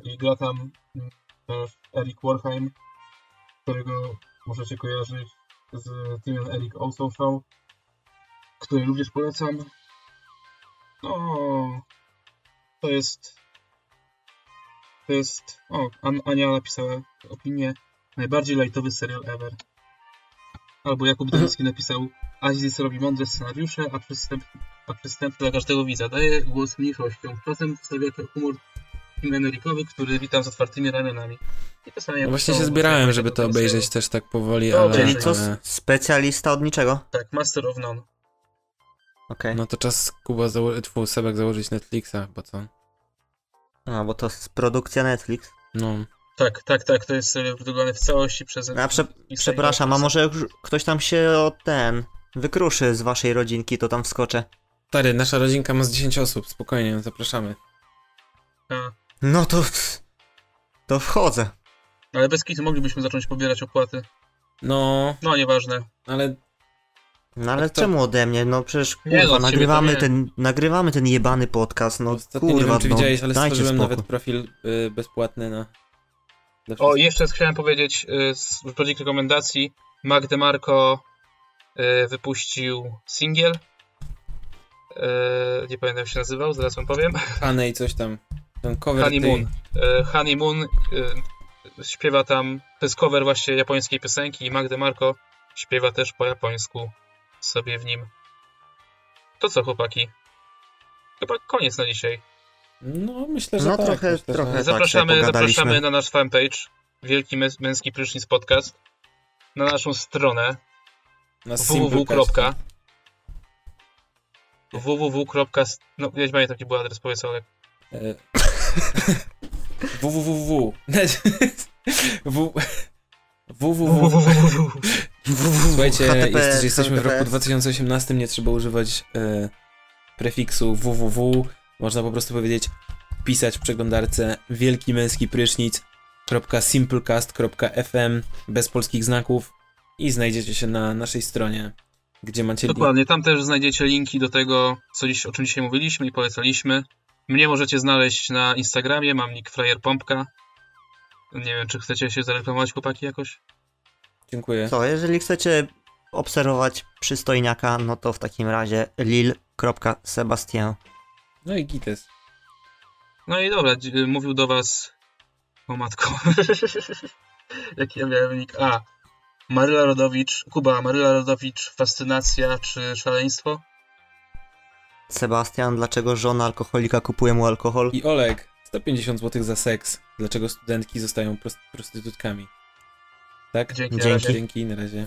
[SPEAKER 4] i gra tam mm, też Eric Warheim, którego możecie kojarzyć z filmem Eric O. Social, który również polecam. No, to jest. To jest. O, An- Ania napisała opinię. Najbardziej lajtowy serial ever. Albo
[SPEAKER 2] [laughs]
[SPEAKER 4] Jakub Dębski napisał Azis robi mądre scenariusze, a przystęp, a przystęp dla każdego widza. Daje głos mniejszościom. Czasem wstawia humor generikowy, który witam z otwartymi ramionami. I czasami
[SPEAKER 2] No
[SPEAKER 4] jak
[SPEAKER 2] właśnie
[SPEAKER 4] to-
[SPEAKER 2] się
[SPEAKER 3] tak
[SPEAKER 2] zbierałem,
[SPEAKER 4] jak
[SPEAKER 2] żeby to obejrzeć też tak powoli,
[SPEAKER 4] Dobra,
[SPEAKER 2] ale...
[SPEAKER 3] No, Czyli co,
[SPEAKER 2] ale-
[SPEAKER 3] s- specjalista od niczego?
[SPEAKER 4] Tak, Master of None.
[SPEAKER 3] Okej.
[SPEAKER 2] No to czas Kuba, zało- twój Sebek założyć Netflixa, bo co?
[SPEAKER 3] A, bo to jest produkcja Netflix.
[SPEAKER 2] No,
[SPEAKER 4] Tak, tak, tak, to jest serial produkowany w całości przez...
[SPEAKER 3] A No prze,
[SPEAKER 4] i- i-
[SPEAKER 3] przepraszam, a może już ktoś tam się o ten wykruszy z waszej rodzinki, to tam wskoczę.
[SPEAKER 2] stary, nasza rodzinka ma z 10 osób, spokojnie, zapraszamy.
[SPEAKER 4] A,
[SPEAKER 3] No to... To wchodzę.
[SPEAKER 4] ale bez kitu moglibyśmy zacząć pobierać opłaty.
[SPEAKER 2] No,
[SPEAKER 4] No, nieważne.
[SPEAKER 2] ale
[SPEAKER 3] No ale
[SPEAKER 2] A kto-
[SPEAKER 3] czemu ode mnie? No przecież
[SPEAKER 4] Nie, no,
[SPEAKER 3] kurwa,
[SPEAKER 4] od ciebie
[SPEAKER 3] nagrywamy,
[SPEAKER 4] to nie.
[SPEAKER 3] ten, nagrywamy ten jebany podcast, no
[SPEAKER 2] ostatnio
[SPEAKER 3] kurwa,
[SPEAKER 2] nie wiem, czy
[SPEAKER 3] no,
[SPEAKER 2] widziałeś, ale
[SPEAKER 3] dajcie
[SPEAKER 2] stworzyłem
[SPEAKER 3] spokój.
[SPEAKER 2] nawet profil y, bezpłatny na... dla
[SPEAKER 4] O,
[SPEAKER 2] wszystkich.
[SPEAKER 4] jeszcze chciałem powiedzieć y, z projekt rekomendacji. Mac DeMarco y, wypuścił singiel. Y, Nie pamiętam jak się nazywał, zaraz wam powiem.
[SPEAKER 2] Honey, coś tam. Ten cover
[SPEAKER 4] Honeymoon.
[SPEAKER 2] tej-
[SPEAKER 4] Y, Honeymoon y, śpiewa tam, to jest cover właśnie japońskiej piosenki i Mac DeMarco śpiewa też po japońsku sobie w nim. To co chłopaki? Chyba koniec na dzisiaj.
[SPEAKER 2] No, myślę, że
[SPEAKER 3] No
[SPEAKER 2] tak.
[SPEAKER 3] trochę-
[SPEAKER 2] myślę, Że...
[SPEAKER 3] trochę. E, tak się
[SPEAKER 4] Zapraszamy,
[SPEAKER 3] pogadaliśmy.
[SPEAKER 4] zapraszamy na nasz fanpage Wielki Męs- Męski Prysznic Podcast na naszą stronę
[SPEAKER 2] Na
[SPEAKER 4] www.
[SPEAKER 2] Simplecastie.
[SPEAKER 4] www. No, nie pamiętam jaki był adres, powiedz Olek.
[SPEAKER 2] [laughs] E, [laughs] www. Net- W- www. Słuchajcie,
[SPEAKER 3] HTTP,
[SPEAKER 2] jest, że jesteśmy w roku
[SPEAKER 3] HTTP.
[SPEAKER 2] 2018, nie trzeba używać e, prefiksu www. Można po prostu powiedzieć, pisać w przeglądarce wielki męski prysznic.simplecast.fm bez polskich znaków i znajdziecie się na naszej stronie, gdzie macie link.
[SPEAKER 4] Dokładnie, tam też znajdziecie linki do tego, co dziś, o czym dzisiaj mówiliśmy i polecaliśmy. Mnie możecie znaleźć na Instagramie, mam nick Frajer Pompka. Nie wiem, czy chcecie się zareklamować chłopaki jakoś?
[SPEAKER 2] Dziękuję.
[SPEAKER 3] Co, jeżeli chcecie obserwować przystojniaka, no to w takim razie lil.sebastian.
[SPEAKER 2] No i Gites.
[SPEAKER 4] No i dobra, dzi- mówił do was... O matko. [laughs] Jaki ja miałem nick? A. Maryla Rodowicz, Kuba, Maryla Rodowicz, fascynacja czy szaleństwo?
[SPEAKER 3] Sebastian, dlaczego żona alkoholika kupuje mu alkohol?
[SPEAKER 2] I Oleg, 150 zł za seks. Dlaczego studentki zostają prost- prostytutkami? Tak?
[SPEAKER 4] Dzięki, na
[SPEAKER 3] Dzięki.
[SPEAKER 4] razie.
[SPEAKER 2] Dzięki, na razie.